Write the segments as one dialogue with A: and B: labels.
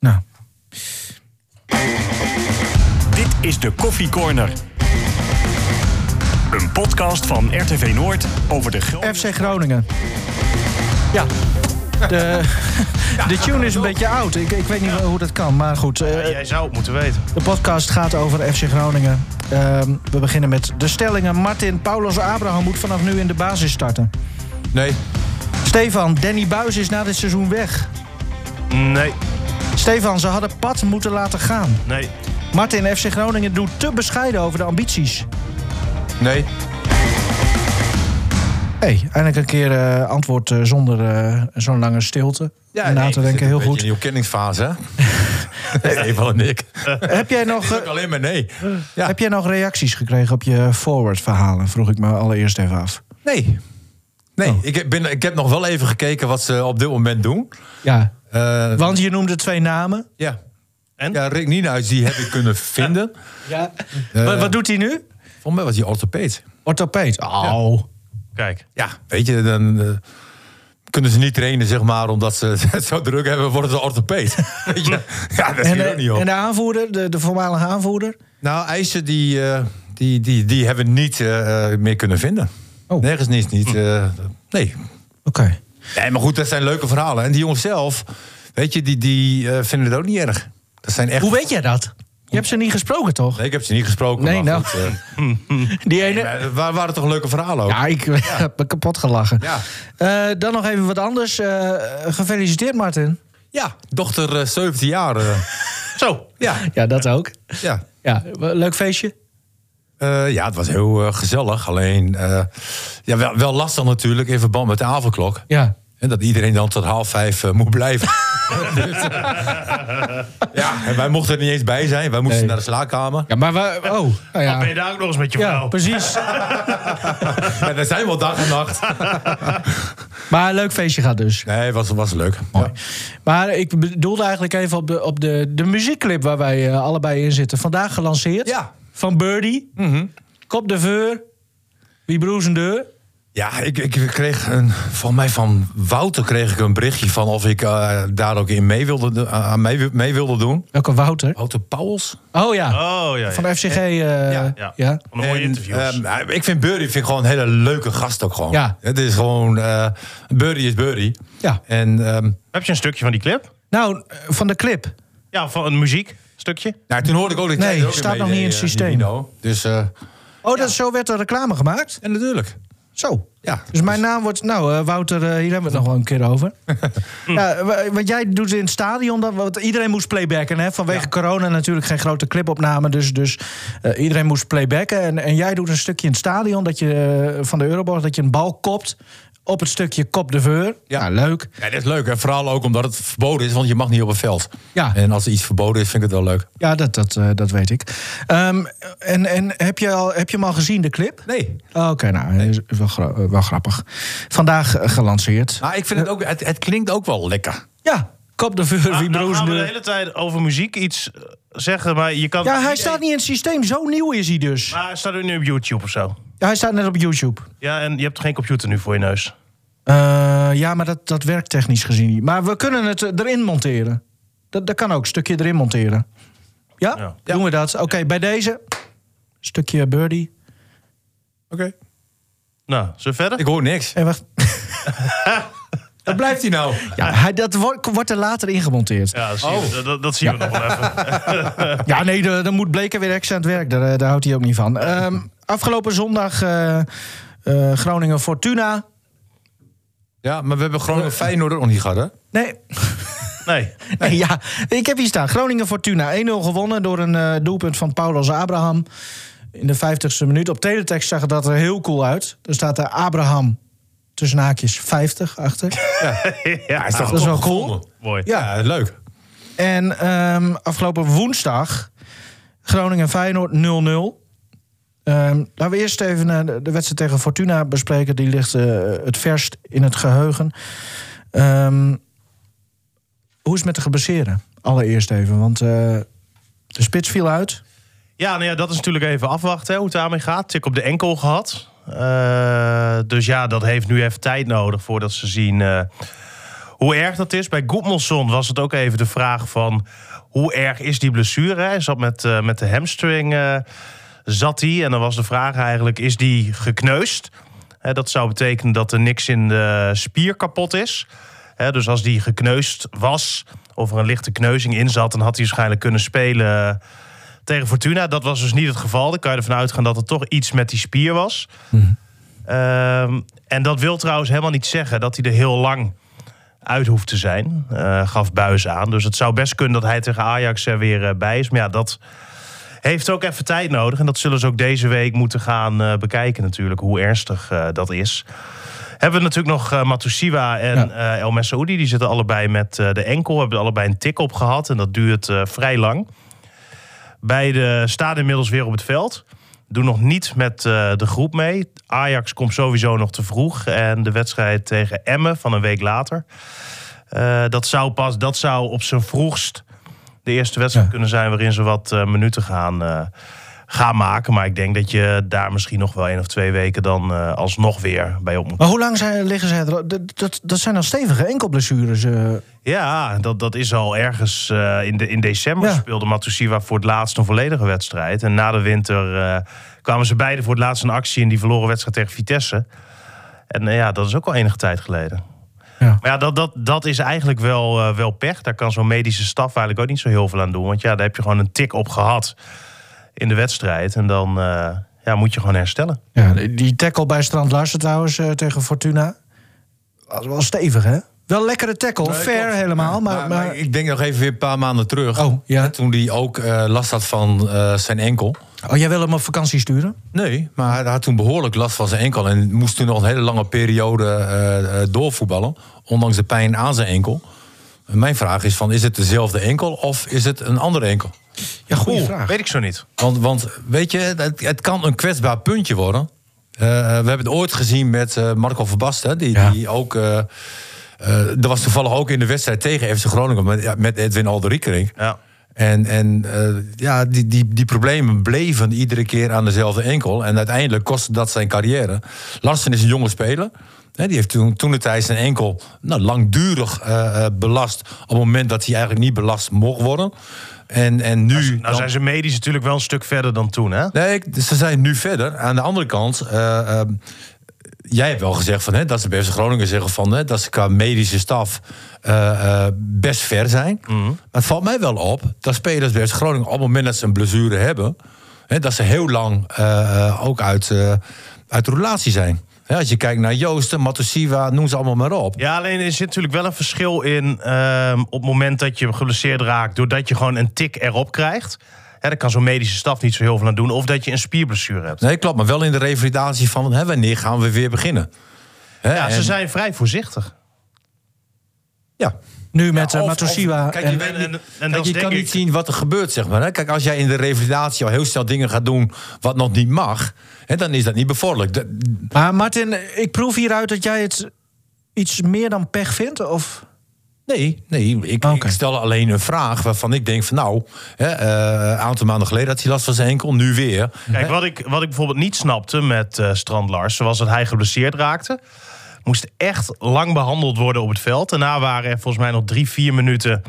A: Nou.
B: is de Koffie Corner. Een podcast van RTV Noord over de Gro-
C: FC Groningen. Ja. De, de tune is een beetje oud. Ik, ik weet niet hoe dat kan, maar goed. eh,
A: Ja, jij zou het moeten weten.
C: De podcast gaat over FC Groningen. Ehm, we beginnen met de stellingen. Martin Paulus Abraham moet vanaf nu in de basis starten.
D: Nee.
C: Stefan, Danny Buis is na dit seizoen weg.
A: Nee,
C: Stefan, ze hadden pad moeten laten gaan.
A: nee,
C: Martin, FC Groningen doet te bescheiden over de ambities.
D: Nee.
C: Hé, hey, eindelijk een keer eh, antwoord eh, zonder eh, zo'n lange stilte. Ja, na te denken, heel goed.
D: In die opkenningsfase, hè? Even en ik.
C: Heb jij nog... eh,
D: Ook alleen maar nee. Ja.
C: Heb jij nog reacties gekregen op je forward-verhalen? Vroeg ik me allereerst even af.
D: Nee. Nee,
C: Oh.
D: ik, heb- ben, ik heb nog wel even gekeken wat ze op dit moment doen.
C: Ja.
D: Eh,
C: Want je noemde twee namen.
D: ja.
A: En?
D: Ja, Rick Nienhuis, die heb ik kunnen vinden. Eh,
C: Ja. wat, wat doet hij nu?
D: Volgens mij was hij orthopeed.
C: Orthopeed. Oh.
A: kijk.
D: Ja, weet je, dan eh, kunnen ze niet trainen, zeg maar, omdat ze het zo druk hebben, worden ze orthopeed. Weet je? ja, dat
C: En, eh,
D: is
C: de-
D: ook niet op.
C: en de aanvoerder, de, de voormalige aanvoerder?
D: Nou, eisen die, eh, die, die, die hebben we niet eh, eh, meer kunnen vinden.
C: Oh.
D: Nergens niet. niet eh, nee.
C: Oké.
D: nee, maar goed, dat zijn leuke verhalen. En die jongens zelf, weet je, die, die eh, vinden het ook niet erg. Dat zijn echt...
C: Hoe weet jij dat? Je hebt ze niet gesproken, toch?
D: Nee, ik heb ze niet gesproken.
C: Nee,
D: maar
C: nou.
D: goed, eh,
C: Die ene...
D: maar er wa- waren toch leuke verhalen ook?
C: Ja, ik heb me kapot gelachen.
D: Ja.
C: Eh, dan nog even wat anders. Eh, gefeliciteerd, Martin.
D: Ja, dochter eh, 17 jaar. eh,
A: Zo,
D: ja,
C: Ja, dat ook.
D: ja.
C: Ja, leuk feestje.
D: Eh, ja, het was heel eh, gezellig. Alleen, eh, ja, wel, wel lastig natuurlijk in verband met de avondklok.
C: Ja.
D: En dat iedereen dan tot half vijf eh, moet blijven. Dus, ja, en wij mochten er niet eens bij zijn. Wij moesten
C: Nee.
D: naar de slaapkamer.
C: Ja, maar we... Oh, nou
A: Dan ben
C: ja.
A: je daar ook nog eens met je
C: Ja,
A: vrouw.
C: precies.
D: Ja, daar zijn wel dag en nacht.
C: Maar leuk feestje gaat dus.
D: Nee, was, was leuk.
C: Mooi. Maar ik bedoelde eigenlijk even op de, op de, de muziekclip waar wij eh, allebei in zitten. Vandaag gelanceerd.
D: Ja.
C: Van Birdie. Kop de Veur. Wie broers een deur.
D: Ja, ik, ik kreeg een, van mij van Wouter kreeg ik een berichtje van of ik eh, daar ook in mee wilde, do- aan mee, mee wilde doen.
C: Welke Wouter?
D: Wouter Pauwels?
C: Oh ja.
A: Oh ja, ja.
C: Van FCG. eh, ja.
A: ja.
C: Ja.
A: Van de mooie
D: En,
A: interviews.
D: ehm, hij- ik vind Burry vind ik gewoon een hele leuke gast ook gewoon.
C: Ja.
D: Het is gewoon... eh Burry is Burry. En ehm,
A: Heb je een stukje van die clip?
C: Nou, eh, van de clip.
A: Ja, van een muziekstukje.
D: nou, toen hoorde ik ook dat jij
C: Nee,
D: er ook
C: staat nog
D: meedeed,
C: niet in het
D: eh,
C: systeem.
D: Nivino. Dus eh,
C: Oh, dat, zo werd er reclame gemaakt.
D: en natuurlijk.
C: Zo.
D: Ja.
C: Dus mijn naam wordt... Nou, eh, Wouter, eh, hier hebben we het nog wel een keer over. ja, wa- wat jij doet in het stadion, dat, want iedereen moest playbacken. Hè? Vanwege corona natuurlijk geen grote clipopname. Dus, dus eh, iedereen moest playbacken. En, en jij doet een stukje in het stadion dat je, eh, van de Euroborg... dat je een bal kopt op het stukje kop de veur. Ja,
D: Ja.
C: leuk.
D: Ja, dat is leuk. En vooral ook omdat het verboden is, want je mag niet op een veld.
C: Ja.
D: En als er iets verboden is, vind ik het wel leuk.
C: Ja, dat, dat, eh, dat weet ik. Ehm, en en heb, je al, heb je hem al gezien, de clip?
D: Nee.
C: Oké, nou, is wel, gra- eh, wel grappig. Vandaag eh, gelanceerd.
D: Maar ik vind het ook, het, het klinkt ook wel lekker.
C: Ja, kop de veur, wie
A: Nou, nou
C: broers
A: gaan we
C: deur.
A: de hele tijd over muziek iets eh, zeggen, maar je kan...
C: Ja, hij staat niet in het systeem. Zo nieuw is hij dus.
A: Maar hij staat ook nu op YouTube of zo.
C: Ja, hij staat net op YouTube.
A: Ja, en je hebt geen computer nu voor je neus.
C: Eh, ja, maar dat, dat werkt technisch gezien niet. Maar we kunnen het eh, erin monteren. Dat, dat kan ook, stukje erin monteren. Ja?
A: Ja.
C: Doen we dat? Oké, bij deze. Stukje birdie.
D: Oké.
A: Nou, zullen we verder?
D: Ik hoor niks.
C: En Eh, wacht.
D: Waar blijft hij nou?
C: Ja, hij, dat wordt, wordt er later ingemonteerd. Ja,
A: Ja, dat zien, we, dat, dat zien we nog wel even.
C: nee, de- dan moet Bleker weer extra aan het werk. Daar, eh, daar houdt hij ook niet van. Ehm, afgelopen zondag eh, eh, Groningen Fortuna.
D: Ja, maar we hebben Groningen Feyenoord ook nog niet gehad, hè?
C: Nee,
A: Nee.
C: Nee, ja, ik heb hier staan. Groningen Fortuna 1-0 gewonnen door een eh, doelpunt van Paulus Abraham. In de 50ste minuut. Op teletext zag het dat er heel cool uit. Er staat er Abraham tussen haakjes 50 achter.
D: Ja,
A: Nou,
D: hij is toch
C: dat is wel
D: toch
C: cool.
D: gevonden?
A: Mooi.
D: Ja, leuk.
C: En ehm, afgelopen woensdag Groningen Feyenoord 0-0. Ehm, laten we eerst even eh, de- de wedstrijd tegen Fortuna bespreken. Die ligt eh, het verst in het geheugen. Ehm, hoe is het met de geblesseerden? Allereerst even, want eh, de spits viel uit.
A: Ja, nou ja, dat is natuurlijk even afwachten hè, hoe het daarmee gaat. Tik op de enkel gehad. Eh, dus ja, dat heeft nu even tijd nodig voordat ze zien eh, hoe erg dat is. Bij Goedmanson was het ook even de vraag van... hoe erg is die blessure? Hij zat met, eh, met de hamstring... eh, zat hij en dan was de vraag eigenlijk... is die gekneusd? Hè, dat zou betekenen dat er niks in de spier kapot is. Hè, dus als die gekneusd was... of er een lichte kneuzing in zat... dan had hij waarschijnlijk kunnen spelen tegen Fortuna. Dat was dus niet het geval. Dan kan je ervan uitgaan dat er toch iets met die spier was... Ehm, en dat wil trouwens helemaal niet zeggen dat hij er heel lang uit hoeft te zijn, eh, gaf Buis aan. Dus het zou best kunnen dat hij tegen Ajax er weer eh, bij is. Maar ja, dat heeft ook even tijd nodig. En dat zullen ze ook deze week moeten gaan eh, bekijken natuurlijk, hoe ernstig eh, dat is. Hebben we natuurlijk nog eh Matusiwa en eh, El Messaoudi. Die zitten allebei met eh, de enkel. Hebben er allebei een tik op gehad. En dat duurt eh, vrij lang. Beide staan inmiddels weer op het veld. Doen nog niet met eh, de groep mee. Ajax komt sowieso nog te vroeg. En de wedstrijd tegen Emmen van een week later. Eh, dat, zou pas, dat zou op zijn vroegst de eerste wedstrijd kunnen zijn... waarin ze wat eh, minuten gaan, eh, gaan maken. Maar ik denk dat je daar misschien nog wel één of twee weken... dan eh, alsnog weer bij op moet
C: Maar hoe lang zijn, liggen ze er? Dat, dat, dat zijn dan stevige enkelblessures. eh.
A: Ja, dat, dat is al ergens eh, in, de, in december
C: Ja.
A: speelde Matusiwa voor het laatst een volledige wedstrijd. En na de winter eh, kwamen ze beiden voor het laatst een actie in die verloren wedstrijd tegen Vitesse. En eh, ja, dat is ook al enige tijd geleden.
C: Ja.
A: Maar ja, dat, dat, dat is eigenlijk wel, eh, wel pech. Daar kan zo'n medische staf eigenlijk ook niet zo heel veel aan doen. Want ja, daar heb je gewoon een tik op gehad in de wedstrijd. En dan eh, ja, moet je gewoon herstellen.
C: Ja, die- die tackle bij Strand Larsen trouwens eh, tegen Fortuna. Was wel stevig, hè? Wel lekkere tackle, fair helemaal. Maar,
D: Eh, Maar,
C: maar-
D: maar ik denk nog even weer een paar maanden terug.
C: Oh, ja.
D: Toen hij ook eh, last had van eh, zijn enkel.
C: Oh, jij wil hem op vakantie sturen?
D: Nee, maar hij had toen behoorlijk last van zijn enkel. En moest toen nog een hele lange periode eh, eh, doorvoetballen. Ondanks de pijn aan zijn enkel. En Mijn vraag is van, is het dezelfde enkel of is het een andere enkel?
C: Ja, goede
A: Oeh,
C: vraag.
A: weet ik zo niet.
D: Want, want weet je, het, het kan een kwetsbaar puntje worden. Eh, we hebben het ooit gezien met eh, Marco Verbasten. Die,
C: Ja.
D: die ook... eh eh, dat was toevallig ook in de wedstrijd tegen FC Groningen met, met Edwin Alderikering.
A: Ja.
D: En, en eh, ja, die, die, die problemen bleven iedere keer aan dezelfde enkel. En uiteindelijk kostte dat zijn carrière. Larsen is een jonge speler. Hè, die heeft toen, toen de tijd zijn enkel nou, langdurig eh, eh, belast. Op het moment dat hij eigenlijk niet belast mocht worden. En, en nu.
A: Nou
D: dan-
A: zijn ze medisch natuurlijk wel een stuk verder dan toen, hè?
D: Nee, ik- ze zijn nu verder. Aan de andere kant, eh, ehm, jij hebt wel gezegd van, hè, dat ze bij FC Groningen zeggen van, hè, dat ze qua medische staf eh, eh, best ver zijn.
A: Mhm.
D: Maar het valt mij wel op dat spelers bij FC Groningen op het moment dat ze een blessure hebben, hè, dat ze heel lang eh, eh, ook uit, eh, uit de relatie zijn. Hè, als je kijkt naar Joosten, Matusiwa, noem ze allemaal maar op.
A: Ja, alleen er zit natuurlijk wel een verschil in ehm, op het moment dat je geblesseerd raakt, doordat je gewoon een tik erop krijgt. Hè, daar kan zo'n medische staf niet zo heel veel aan doen. Of dat je een spierblessure hebt.
D: Nee, klopt, maar wel in de revalidatie van hè, wanneer gaan we weer beginnen. Hè,
A: Ja, ze
D: en-
A: zijn vrij voorzichtig.
D: ja.
C: Nu met
D: Ja,
C: eh,
D: of-
C: Matosiwa.
D: of- Kijk, je,
C: en-
D: weet
A: en-
D: niet-
A: en- en
D: kijk,
A: dat is
D: je kan
A: denk
D: niet
A: ik-
D: zien wat er gebeurt, zeg maar. Hè? Kijk, als jij in de revalidatie al heel snel dingen gaat doen wat nog niet mag, hè, dan is dat niet bevorderlijk. Dat-
C: Maar Martin, ik proef hieruit dat jij het iets meer dan pech vindt? Of?
D: nee, nee ik,
C: Oké.
D: ik stel alleen een vraag waarvan ik denk van nou, hè, eh, een aantal maanden geleden had hij last van zijn enkel, nu weer.
A: Kijk, wat ik, wat ik bijvoorbeeld niet snapte met eh Strand Larsen was dat hij geblesseerd raakte. Moest echt lang behandeld worden op het veld. Daarna waren er volgens mij nog drie, vier minuten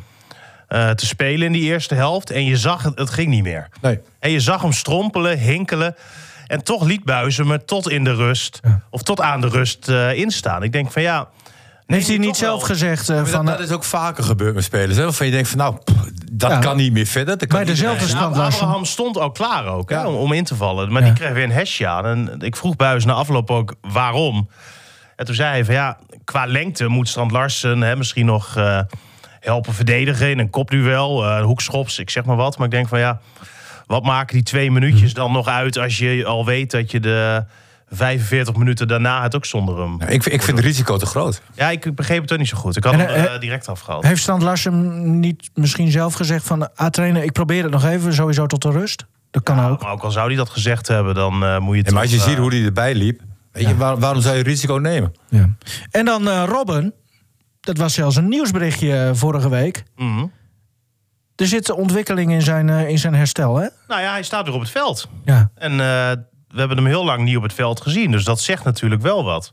A: eh, te spelen in die eerste helft. En je zag het, het ging niet meer.
D: Nee.
A: En je zag hem strompelen, hinkelen. En toch liet Buizen me tot in de rust, of tot aan de rust eh, instaan. Ik denk van ja.
C: Heeft hij
A: toch
C: niet zelf
A: wel.
C: gezegd eh,
D: Maar dat,
C: van...
D: dat
C: eh,
D: is ook vaker gebeurd met spelers. Hè? Waarvan je denkt van nou, pff, dat
C: Ja.
D: kan niet meer verder. dat kan
C: Bij
D: niet meer-
C: dezelfde
A: Nou,
C: Strand Larsen.
A: Abraham stond al klaar ook hè,
D: Ja.
A: om, om in te vallen. Maar die kreeg weer een hesje aan. En ik vroeg Buis na afloop ook waarom. En toen zei hij van ja, qua lengte moet Strand Larsen hè, misschien nog eh, helpen verdedigen in een kopduel, eh hoekschops, ik zeg maar wat. Maar ik denk van ja, wat maken die twee
D: Mhm.
A: minuutjes dan nog uit als je al weet dat je de 45 minuten daarna het ook zonder hem.
D: Nou, ik, ik vind het risico te groot.
A: Ja, ik begreep het ook niet zo goed. Ik had
C: En,
A: hem
C: eh,
A: eh, direct afgehaald.
C: Heeft Strand Larsen niet misschien zelf gezegd van... Ah, trainer, ik probeer het nog even, sowieso tot de rust? Dat kan ook.
A: Maar ook al zou hij dat gezegd hebben, dan eh, moet je het.
D: En maar als je ziet hoe hij erbij liep, weet je, waar- waarom zou je risico nemen?
C: Ja. En dan eh, Robben. Dat was zelfs een nieuwsberichtje eh, vorige week.
A: Mhm.
C: Er zit ontwikkeling in zijn, eh, in zijn herstel, hè?
A: Nou ja, hij staat weer op het veld.
C: Ja.
A: En eh, we hebben hem heel lang niet op het veld gezien. Dus dat zegt natuurlijk wel wat.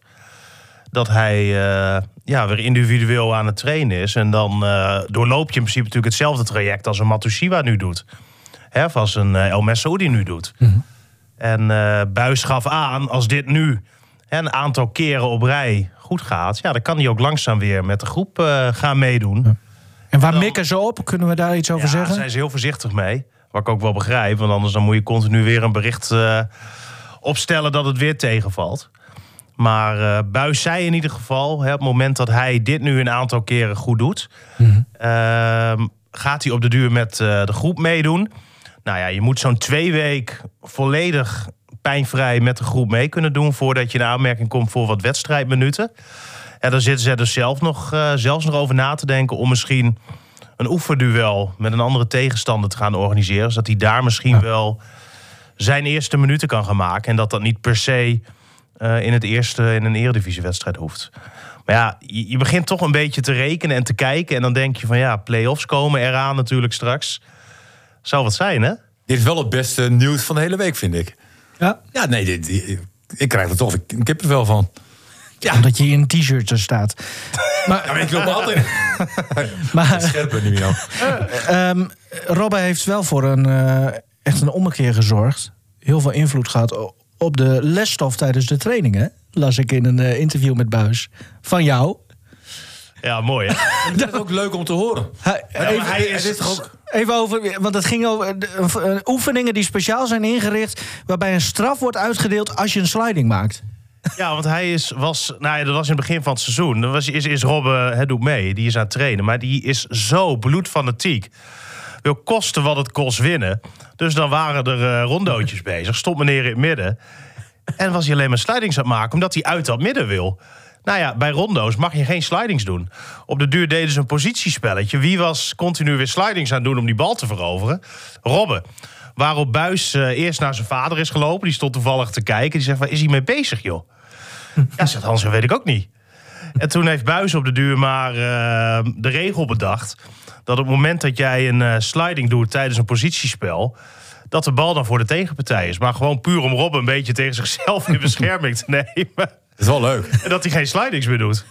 A: dat hij eh, ja, weer individueel aan het trainen is. En dan eh, doorloop je in principe natuurlijk hetzelfde traject als een Matusiwa nu doet. Hè, of als een eh, El Messaoudi nu doet. En eh Buis gaf aan, als dit nu hè, een aantal keren op rij goed gaat... Ja, dan kan hij ook langzaam weer met de groep eh, gaan meedoen.
C: En waar mikken ze op? Kunnen we daar iets over
A: Ja,
C: zeggen?
A: Daar zijn ze heel voorzichtig mee. Wat ik ook wel begrijp. Want anders dan moet je continu weer een bericht eh, opstellen dat het weer tegenvalt. Maar eh, Buis zei in ieder geval, hè, op het moment dat hij dit nu een aantal keren goed doet, ehm, gaat hij op de duur met eh, de groep meedoen. Nou ja, je moet zo'n twee week volledig pijnvrij met de groep mee kunnen doen voordat je in aanmerking komt voor wat wedstrijdminuten. En daar zitten ze dus zelf nog, eh, zelfs nog over na te denken om misschien een oefenduel met een andere tegenstander te gaan organiseren. Zodat hij daar misschien wel zijn eerste minuten kan gaan maken. En dat dat niet per se eh, in, het eerste, in een eredivisiewedstrijd hoeft. Maar ja, je, je begint toch een beetje te rekenen en te kijken. En dan denk je van ja, play-offs komen eraan natuurlijk straks. Zou wat zijn, hè?
D: Dit is wel het beste nieuws van de hele week, vind ik.
C: Ja.
D: Ja, nee, dit, dit- ik krijg er toch een kippenvel van.
C: Omdat je in een t-shirt er staat.
D: Ja, maar ik loop altijd
C: Maar
D: scherper nu, Jan.
C: ehm Robbe heeft wel voor een, eh, echt een ommekeer gezorgd. Heel veel invloed gehad o- op de lesstof tijdens de trainingen. Las ik in een eh, interview met Buis. Van jou.
A: Ja, mooi. Hè?
D: Ik vind het ook leuk om te horen.
C: Hij- even,
A: hij is-
D: dit toch ook...
C: even over, want het ging over de- eh, oefeningen die speciaal zijn ingericht. waarbij een straf wordt uitgedeeld als je een sliding maakt.
A: Ja, want hij is, was, nou ja, dat was in het begin van het seizoen. Dan was, is, is Robben, het doet mee, die is aan het trainen. Maar die is zo bloedfanatiek. Wil kosten wat het kost winnen. Dus dan waren er eh, rondootjes bezig. Stond meneer in het midden. En was hij alleen maar slidings aan het maken, omdat hij uit dat midden wil. Nou ja, bij rondo's mag je geen slidings doen. Op de duur deden ze een positiespelletje. Wie was continu weer slidings aan het doen om die bal te veroveren? Robben. Waarop Buis eh, eerst naar zijn vader is gelopen. Die stond toevallig te kijken. Die zegt, waar is hij mee bezig, joh? Ja, zegt Hans, dat weet ik ook niet. En toen heeft Buis op de duur maar eh, de regel bedacht... dat op het moment dat jij een eh, sliding doet tijdens een positiespel... dat de bal dan voor de tegenpartij is. Maar gewoon puur om Rob een beetje tegen zichzelf in bescherming te nemen.
D: Dat is wel leuk.
A: En dat hij geen slidings meer doet.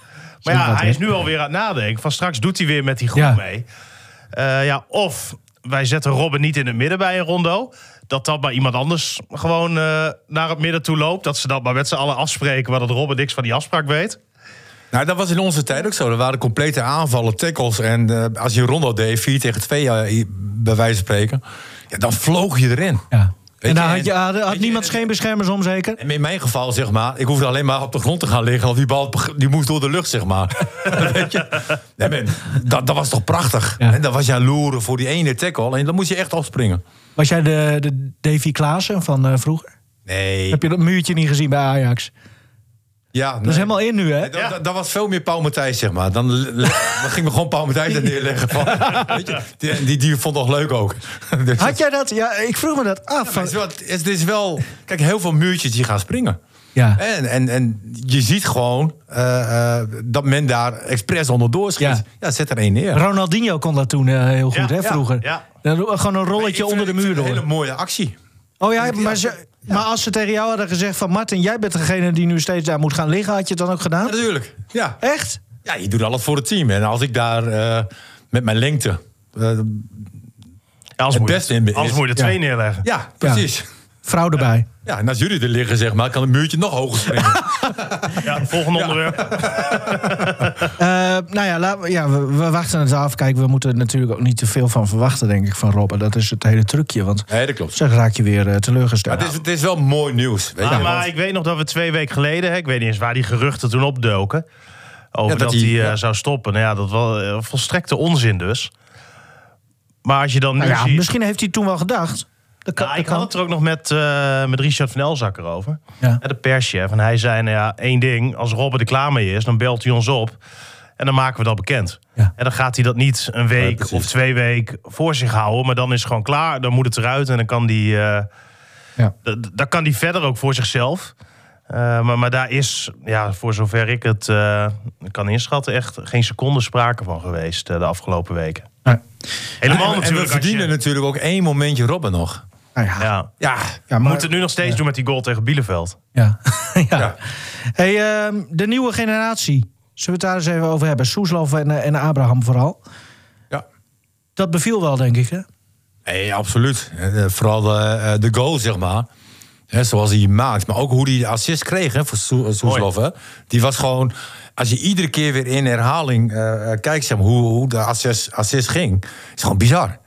A: Maar
C: Zo
A: ja,
C: wat,
A: hij
C: hè?
A: is nu alweer aan het nadenken. Van straks doet hij weer met die groep
C: Ja.
A: mee. Eh, ja, of wij zetten Robben niet in het midden bij een rondo. Dat dat bij iemand anders gewoon eh, naar het midden toe loopt. Dat ze dat maar met z'n allen afspreken. Maar dat Robben niks van die afspraak weet.
D: Nou, dat was in onze tijd ook zo. Er waren complete aanvallen, tackles. En eh, als je rondo deed, 4 tegen 2, bij wijze van spreken... Ja, dan vloog je erin.
C: Ja.
D: Weet
C: en
D: je,
C: daar had, je,
D: en-
C: had, had
D: weet je,
C: niemand
D: en-
C: scheenbeschermers om, zeker?
D: En in mijn geval, zeg maar, ik hoefde alleen maar op de grond te gaan liggen. Want die bal die moest door de lucht, zeg maar. Weet je? Nee, maar dat, dat was toch prachtig?
C: Ja.
D: En dan was je aan het loeren voor die ene tackle. En dan moest je echt afspringen.
C: Was jij de, de Davy Klaassen van eh, vroeger?
D: Nee.
C: Heb je dat muurtje niet gezien bij Ajax?
D: Ja,
C: Dat is helemaal in nu, hè?
D: Dat, dat- dat was veel meer Paul Matthijs, zeg maar. Dan, le- dan ging me gewoon Paul Matthijs er neerleggen. Van, weet je, die, die, die vond het nog leuk ook. Dus
C: Had jij dat? Ja, ik vroeg me dat af.
D: het, is wel, het is- het is wel... Kijk, heel veel muurtjes die gaan springen.
C: Ja.
D: En, en, en je ziet gewoon eh, eh, dat men daar expres onderdoor schiet.
C: Ja.
D: Ja, zet er één neer.
C: Ronaldinho kon dat toen eh, heel goed, hè,
A: Ja, ja,
C: vroeger.
A: ja.
C: Dan gewoon een rolletje
D: Ik vind-
C: onder de
D: ik
C: muur
D: vind het
C: door.
D: Een hele mooie actie.
C: Oh ja, maar, ze- maar als ze tegen jou hadden gezegd van... Martin, jij bent degene die nu steeds daar moet gaan liggen... had je het dan ook gedaan?
D: Ja, natuurlijk. Ja.
C: Echt?
D: ja, je doet alles voor het team. En als ik daar eh, met mijn lengte... eh,
A: Ja, als
D: Het
A: moet je-
D: beste in be-
A: anders
D: is-
A: moet je er
C: ja.
A: twee neerleggen.
D: ja, precies. Ja.
C: Vrouw erbij.
D: en als jullie er liggen, zeg maar, kan het muurtje nog hoger springen.
A: Ja, volgende onderwerp.
C: Eh, nou ja, laten we, ja we, we wachten het af. Kijk, we moeten er natuurlijk ook niet te veel van verwachten, denk ik, van Robben. Dat is het hele trucje, want
D: Nee, dat klopt.
C: zeg raak je weer eh,
D: Maar
C: teleurgesteld.
D: het, is, het is wel mooi nieuws. Weet
A: Ah,
D: je,
A: Nou. maar
D: want-
A: ik weet nog dat we twee weken geleden, hè, ik weet niet eens waar die geruchten toen opdoken, over
D: Ja,
A: dat,
D: dat
A: hij
D: die-
A: eh,
D: ja.
A: zou stoppen. Nou ja, dat was eh, volstrekte onzin dus. Maar als je dan nu
C: Nou ja,
A: ziet...
C: misschien heeft hij toen wel gedacht. Dat kan,
A: Nou,
C: dat
A: ik had
C: kan.
A: het er ook nog met, eh, met Richard van Elzakker over.
C: Ja.
A: Ja. De perschef. En hij zei, nou ja, één ding. Als Robert er klaar mee is, dan belt hij ons op. En dan maken we dat bekend.
C: Ja.
A: En dan gaat hij dat niet een
D: Nee,
A: week
D: precies.
A: of twee week voor zich houden. Maar dan is het gewoon klaar. Dan moet het eruit. En dan kan die, eh,
C: Ja.
A: d- d- dan kan die verder ook voor zichzelf. Eh, maar, maar daar is, ja, voor zover ik het eh, kan inschatten... echt geen seconde sprake van geweest eh, de afgelopen weken.
C: Nee.
A: Helemaal
D: en, we- en we
A: natuurlijk als je-
D: verdienen natuurlijk ook één momentje Robben nog.
C: Nou ja, ja.
A: Ja.
D: Ja,
C: maar-
A: We moeten het nu nog steeds doen met die goal tegen Bielefeld.
C: Ja. ja.
D: Ja.
C: Hey, ehm, de nieuwe generatie. Zullen we het daar eens even over hebben? Soeslof en, eh, en Abraham vooral.
D: ja.
C: Dat beviel wel, denk ik. Hè?
D: Nee, absoluut. Eh, eh, Vooral de, eh, de goal, zeg maar. Hè, zoals hij die maakt. Maar ook hoe hij de assist kreeg hè, voor Soe- eh, Soeslof. hè. Die was gewoon... Als je iedere keer weer in herhaling eh, eh, kijkt zeg maar, hoe, hoe de assist, assist ging. is gewoon bizar.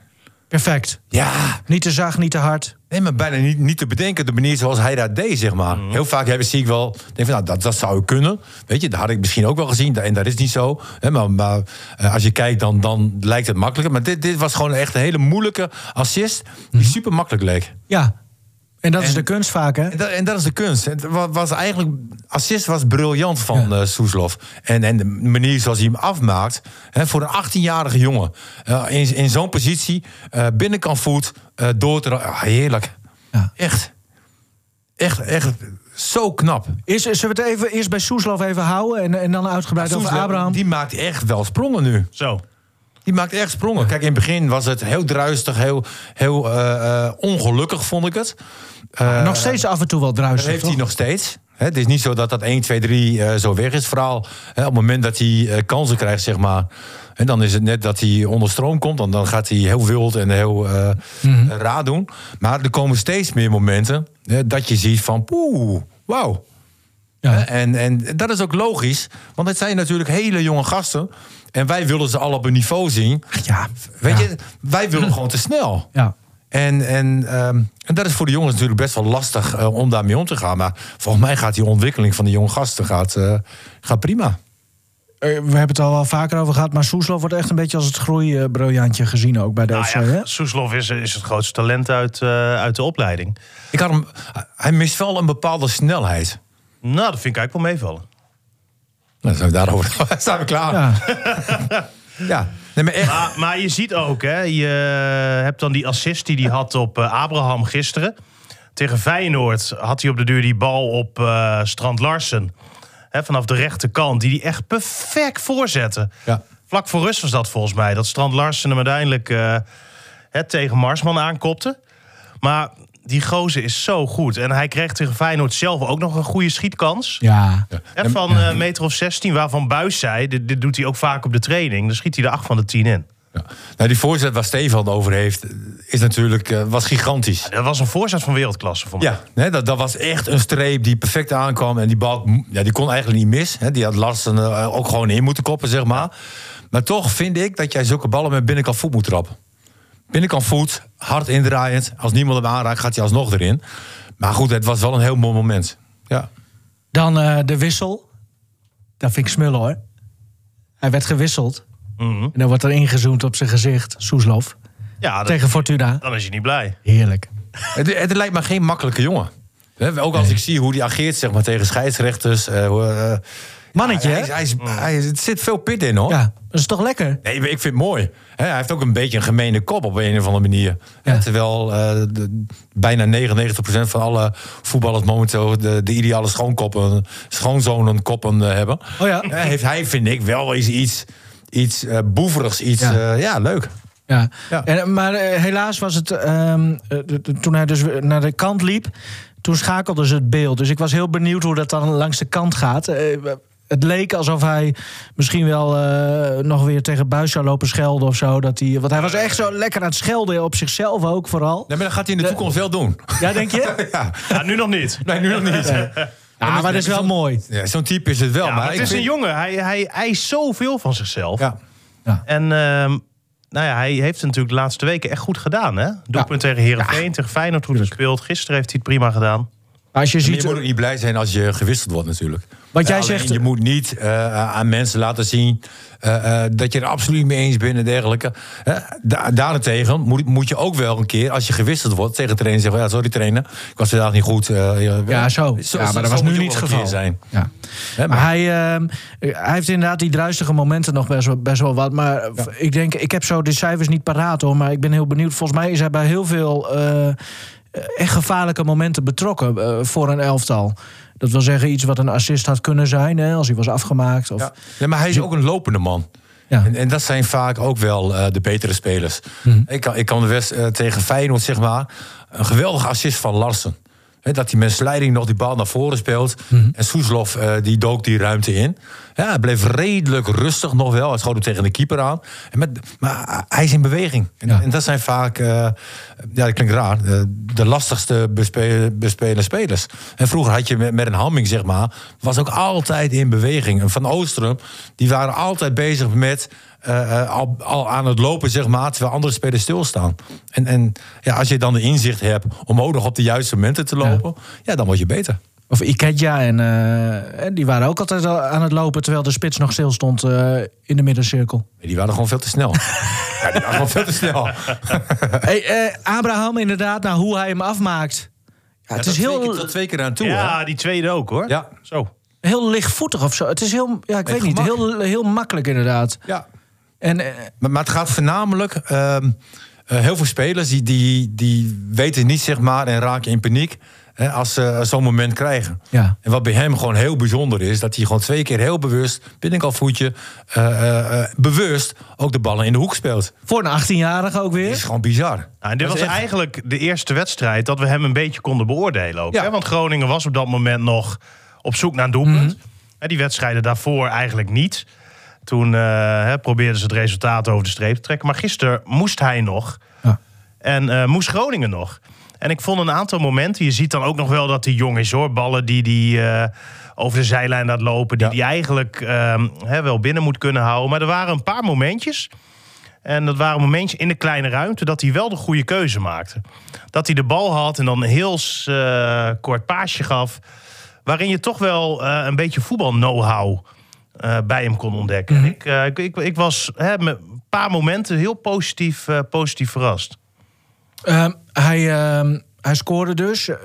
C: Perfect.
D: Ja,
C: Niet te zacht, niet te hard.
D: nee, maar bijna niet, niet te bedenken de manier zoals hij dat deed, zeg maar. Heel vaak heb, zie ik wel... Denk van, nou, dat, dat zou ik kunnen. Weet je, dat had ik misschien ook wel gezien. En dat is niet zo. Hè, maar maar eh, als je kijkt, dan, dan lijkt het makkelijker. Maar dit, dit was gewoon echt een hele moeilijke assist... die super makkelijk leek.
C: Ja. En dat is
D: En-
C: de kunst vaak, hè?
D: En dat, en dat is de kunst. Het wa- was eigenlijk, assist was briljant van eh Soeslof. En, en de manier zoals hij hem afmaakt. Hè, voor een 18-jarige jongen. eh, in in zo'n positie. eh binnenkant voet. eh, door te ra- ah, heerlijk.
C: Ja.
D: Echt. Echt, echt. Zo knap.
C: Eerst, zullen we het even, eerst bij Soeslof even houden en, en dan uitgebreid over
D: Soeslof,
C: Abraham?
D: Die maakt echt wel sprongen nu.
A: Zo.
D: Die maakt echt sprongen. Kijk, in het begin was het heel druistig. Heel, heel eh, eh, ongelukkig vond ik het. Eh,
C: nog steeds af en toe wel druisig,
D: Dat heeft hij
C: toch?
D: nog steeds. Hè, het is niet zo dat dat 1, 2, 3 eh, zo weg is. Vooral hè, op het moment dat hij eh, kansen krijgt, zeg maar. En dan is het net dat hij onder stroom komt. Dan, dan gaat hij heel wild en heel eh
C: Mhm.
D: raar doen. Maar er komen steeds meer momenten hè, dat je ziet van... Poeh, wauw.
C: Ja.
D: Hè, En, en dat is ook logisch. Want het zijn natuurlijk hele jonge gasten. En wij willen ze al op een niveau zien.
C: Ja.
D: Weet je, wij willen gewoon te snel.
C: Ja.
D: En, en, ehm, en dat is voor de jongens natuurlijk best wel lastig eh, om daarmee om te gaan. Maar volgens mij gaat die ontwikkeling van de jonge gasten gaat, eh, gaat prima.
C: Eh, We hebben het al wel vaker over gehad, maar Soeslof wordt echt een beetje als het groeibriljantje gezien ook bij de
A: Nou
C: FC.
A: ja,
C: hè?
A: Soeslof is, is het grootste talent uit, eh, uit de opleiding.
D: Ik had hem, hij mist wel een bepaalde snelheid.
A: Nou, dat vind ik eigenlijk wel meevallen.
D: Nou, dan zijn we daarover dan zijn we klaar. Ja.
C: Ja.
D: Nee, maar echt,
A: Maar, maar je ziet ook, hè, je hebt dan die assist die hij had op eh, Abraham gisteren. Tegen Feyenoord had hij op de duur die bal op eh, Strand Larsen. Hè, vanaf de rechterkant, die hij echt perfect voorzette.
D: Ja.
A: Vlak voor rust was dat volgens mij. Dat Strand Larsen hem uiteindelijk eh, hè, tegen Marsman aankopte. Maar die gozer is zo goed. En hij kreeg tegen Feyenoord zelf ook nog een goede schietkans.
C: ja.
A: Hè, van eh, meter of 16, waarvan Buis zei... Dit, dit doet hij ook vaak op de training. Dan schiet hij er 8 van de 10 in.
D: ja. Nou, die voorzet waar Stefan het over heeft, is natuurlijk, eh, was gigantisch.
A: Dat was een voorzet van wereldklasse voor mij.
D: Ja, nee, dat, dat was echt een streep die perfect aankwam. En die bal ja, die kon eigenlijk niet mis. Hè. Die had Larsen eh, ook gewoon in moeten koppen, zeg maar. Maar toch vind ik dat jij zulke ballen met binnenkant voet moet trappen. Binnenkant voet, hard indraaiend. Als niemand hem aanraakt, gaat hij alsnog erin. Maar goed, het was wel een heel mooi moment. Ja.
C: Dan eh, de wissel. Dat vind ik smullen hoor. Hij werd gewisseld. En dan wordt er ingezoomd op zijn gezicht, Soeslof.
A: Ja, dat-
C: tegen Fortuna.
A: dan is je niet blij.
C: Heerlijk.
D: Het, het lijkt me geen makkelijke jongen. Hè, Ook als ik zie hoe die ageert zeg maar, tegen scheidsrechters. eh, hoe, eh,
C: Mannetje,
D: hij,
C: hè?
D: hij is- hij is- Er zit veel pit in, hoor.
C: Ja, dat is toch lekker?
D: Nee, maar ik vind het mooi. Hè, hij heeft ook een beetje een gemene kop op een of andere manier.
C: Ja.
D: Hè, Terwijl eh, de- bijna 99% van alle voetballers momenteel de, de ideale schoonkoppen, schoonzonen koppen eh, hebben.
C: Oh ja.
D: Hè, heeft hij, vind ik, wel eens iets, iets eh, boeverigs. Iets,
C: Ja.
D: ja. ja, leuk.
C: Ja.
D: Ja.
C: En, maar eh, helaas was het. ehm, eh, de- de- toen hij dus weer naar de kant liep. Toen schakelde ze het beeld. Dus ik was heel benieuwd hoe dat dan langs de kant gaat. Eh, het leek alsof hij misschien wel eh, nog weer tegen buis zou lopen schelden of zo. Dat hij, want hij was echt zo lekker aan het schelden. Op zichzelf ook vooral.
D: Nee, maar dat gaat hij in de toekomst wel doen.
C: Ja, denk je?
A: Ja, nu nog niet.
D: Nee, nu nog niet.
C: Ja, maar dat is wel mooi.
D: Ja, Zo'n type is het wel.
A: Ja,
D: maar
A: maar het
D: ik
A: is
D: vind-
A: een jongen. Hij, hij eist zoveel van zichzelf.
D: Ja.
A: En ehm, nou ja, hij heeft het natuurlijk de laatste weken echt goed gedaan. Hè? Doelpunt tegen Herenveen, tegen Feyenoord goed gespeeld. Gisteren heeft hij het prima gedaan.
C: Maar als je
D: Maar je
C: ziet.
D: moet ook niet blij zijn als je gewisseld wordt natuurlijk.
C: Wat jij
D: Eh, alleen,
C: zegt-
D: Je moet niet eh, aan mensen laten zien eh, eh, dat je er absoluut mee eens bent en dergelijke. Eh, da- daarentegen moet, moet je ook wel een keer, als je gewisseld wordt, tegen de trainer zeggen... Ja, sorry trainer, ik was vandaag niet goed. eh,
C: Ja, zo. ja, maar dat was
D: moet
C: nu
D: je
C: niet
D: ook
C: het geval.
D: wel een keer Zijn.
C: Ja. Maar
D: Hè, maar-
C: hij, ehm, hij heeft inderdaad die druistige momenten nog best wel, best wel wat. Maar eh, ik denk, ik heb zo de cijfers niet paraat hoor. Maar ik ben heel benieuwd. Volgens mij is hij bij heel veel eh, echt gevaarlijke momenten betrokken eh, voor een elftal. Dat wil zeggen iets wat een assist had kunnen zijn hè, als hij was afgemaakt. Of...
D: Ja. Nee, maar hij is ook een lopende man.
C: Ja. Mhm.
D: En, en dat zijn vaak ook wel eh, de betere spelers. Ik, kan, ik kan de West eh, tegen Feyenoord, zeg maar, een geweldige assist van Larsen. Hè, dat die met Leiding nog die bal naar voren speelt.
C: Mhm.
D: En Soeslof eh, die dook die ruimte in. Ja, hij bleef redelijk rustig nog wel. Hij schoot hem tegen de keeper aan. En met, maar hij is in beweging. En,
C: Ja.
D: en dat zijn vaak, eh, ja dat klinkt raar, eh, de lastigste bespe- bespelen spelers. En vroeger had je met, met een Hamming, zeg maar, was ook altijd in beweging. En Van Oostrum, die waren altijd bezig met eh, eh, al, al aan het lopen, zeg maar, terwijl andere spelers stilstaan. En, en ja, als je dan de inzicht hebt om ook nog op de juiste momenten te lopen, ja, dan word je beter.
C: Of Iketja en eh, die waren ook altijd al aan het lopen... terwijl de spits nog stil stond eh, in de middencirkel.
D: Die waren gewoon veel te snel. ja, die waren gewoon veel te snel.
C: Hey, eh, Abraham inderdaad, nou, hoe hij hem afmaakt. Ja, het is
D: Twee
C: heel,
D: keer, tot twee keer aan toe. hè?
A: Ja, die tweede ook hoor.
D: Ja.
A: Zo. Nou,
C: heel lichtvoetig of zo. Het is heel, ja, ik
D: Met
C: weet niet,
D: gemak.
C: heel, heel makkelijk inderdaad.
D: ja.
C: En eh,
D: Maar, maar het gaat voornamelijk. ehm, eh, heel veel spelers die, die, die weten niet, zeg maar, en raken in paniek. Hè, als ze eh, zo'n moment krijgen.
C: Ja.
D: En wat bij hem gewoon heel bijzonder is, dat hij gewoon twee keer heel bewust, binnenkalfvoetje, eh eh, eh, bewust ook de ballen in de hoek speelt.
C: voor een 18-jarige ook
D: Dat
C: weer.
D: is gewoon bizar.
A: Nou, en dit
D: Dat
A: was
D: is echt-
A: eigenlijk de eerste wedstrijd dat we hem een beetje konden beoordelen ook.
D: Ja.
A: Hè? Want Groningen was op dat moment nog op zoek naar een doelpunt.
D: Mhm.
A: Hè, die wedstrijden daarvoor eigenlijk niet. Toen eh, hè, probeerden ze het resultaat over de streep te trekken. Maar gisteren moest hij nog.
C: Ja.
A: En eh, moest Groningen nog. En ik vond een aantal momenten. Je ziet dan ook nog wel dat hij jong is hoor. Ballen die, die hij over de zijlijn laat lopen. Die
D: Ja.
A: hij eigenlijk ehm, hè, wel binnen moet kunnen houden. Maar er waren een paar momentjes. En dat waren momentjes in de kleine ruimte dat hij wel de goede keuze maakte. Dat hij de bal had en dan een heel eh, kort paasje gaf. Waarin je toch wel eh, een beetje voetbal-know-how eh, bij hem kon ontdekken. En ik, eh, ik, ik, ik was hè, met een paar momenten heel positief, eh, positief verrast.
C: Ehm, hij, ehm, hij scoorde dus. Eh,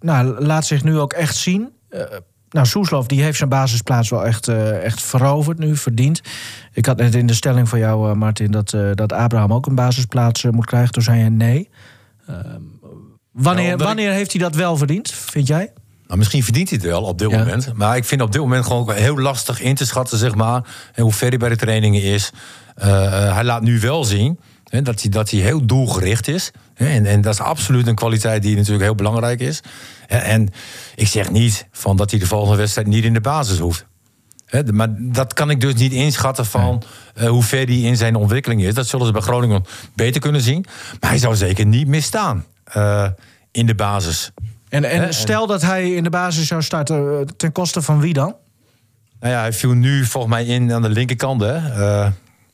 C: nou, laat zich nu ook echt zien. Eh, nou, Soeslof die heeft zijn basisplaats wel echt, eh, echt veroverd nu, verdiend. Ik had net in de stelling van jou, eh, Martin, dat, eh, dat Abraham ook een basisplaats eh, moet krijgen. Toen zei je nee. Ehm,
D: Nou,
C: wanneer
D: omdat ik-
C: wanneer heeft hij dat wel verdiend, vind jij?
D: Nou, misschien verdient hij het wel op dit
C: Ja.
D: moment. Maar ik vind op dit moment gewoon ook heel lastig in te schatten, zeg maar. En hoe ver hij bij de trainingen is. Eh, eh, hij laat nu wel zien hè, dat, hij, dat hij heel doelgericht is. Hè, en, en dat is absoluut een kwaliteit die natuurlijk heel belangrijk is. Hè, en ik zeg niet van dat hij de volgende wedstrijd niet in de basis hoeft. Hè, de- maar dat kan ik dus niet inschatten van eh, hoe ver die in zijn ontwikkeling is. Dat zullen ze bij Groningen beter kunnen zien. Maar hij zou zeker niet misstaan eh, in de basis.
C: En, en Eh, stel dat hij in de basis zou starten, eh, ten koste van wie dan?
D: Nou ja, hij viel nu volgens mij in aan de linkerkant. Hè? Eh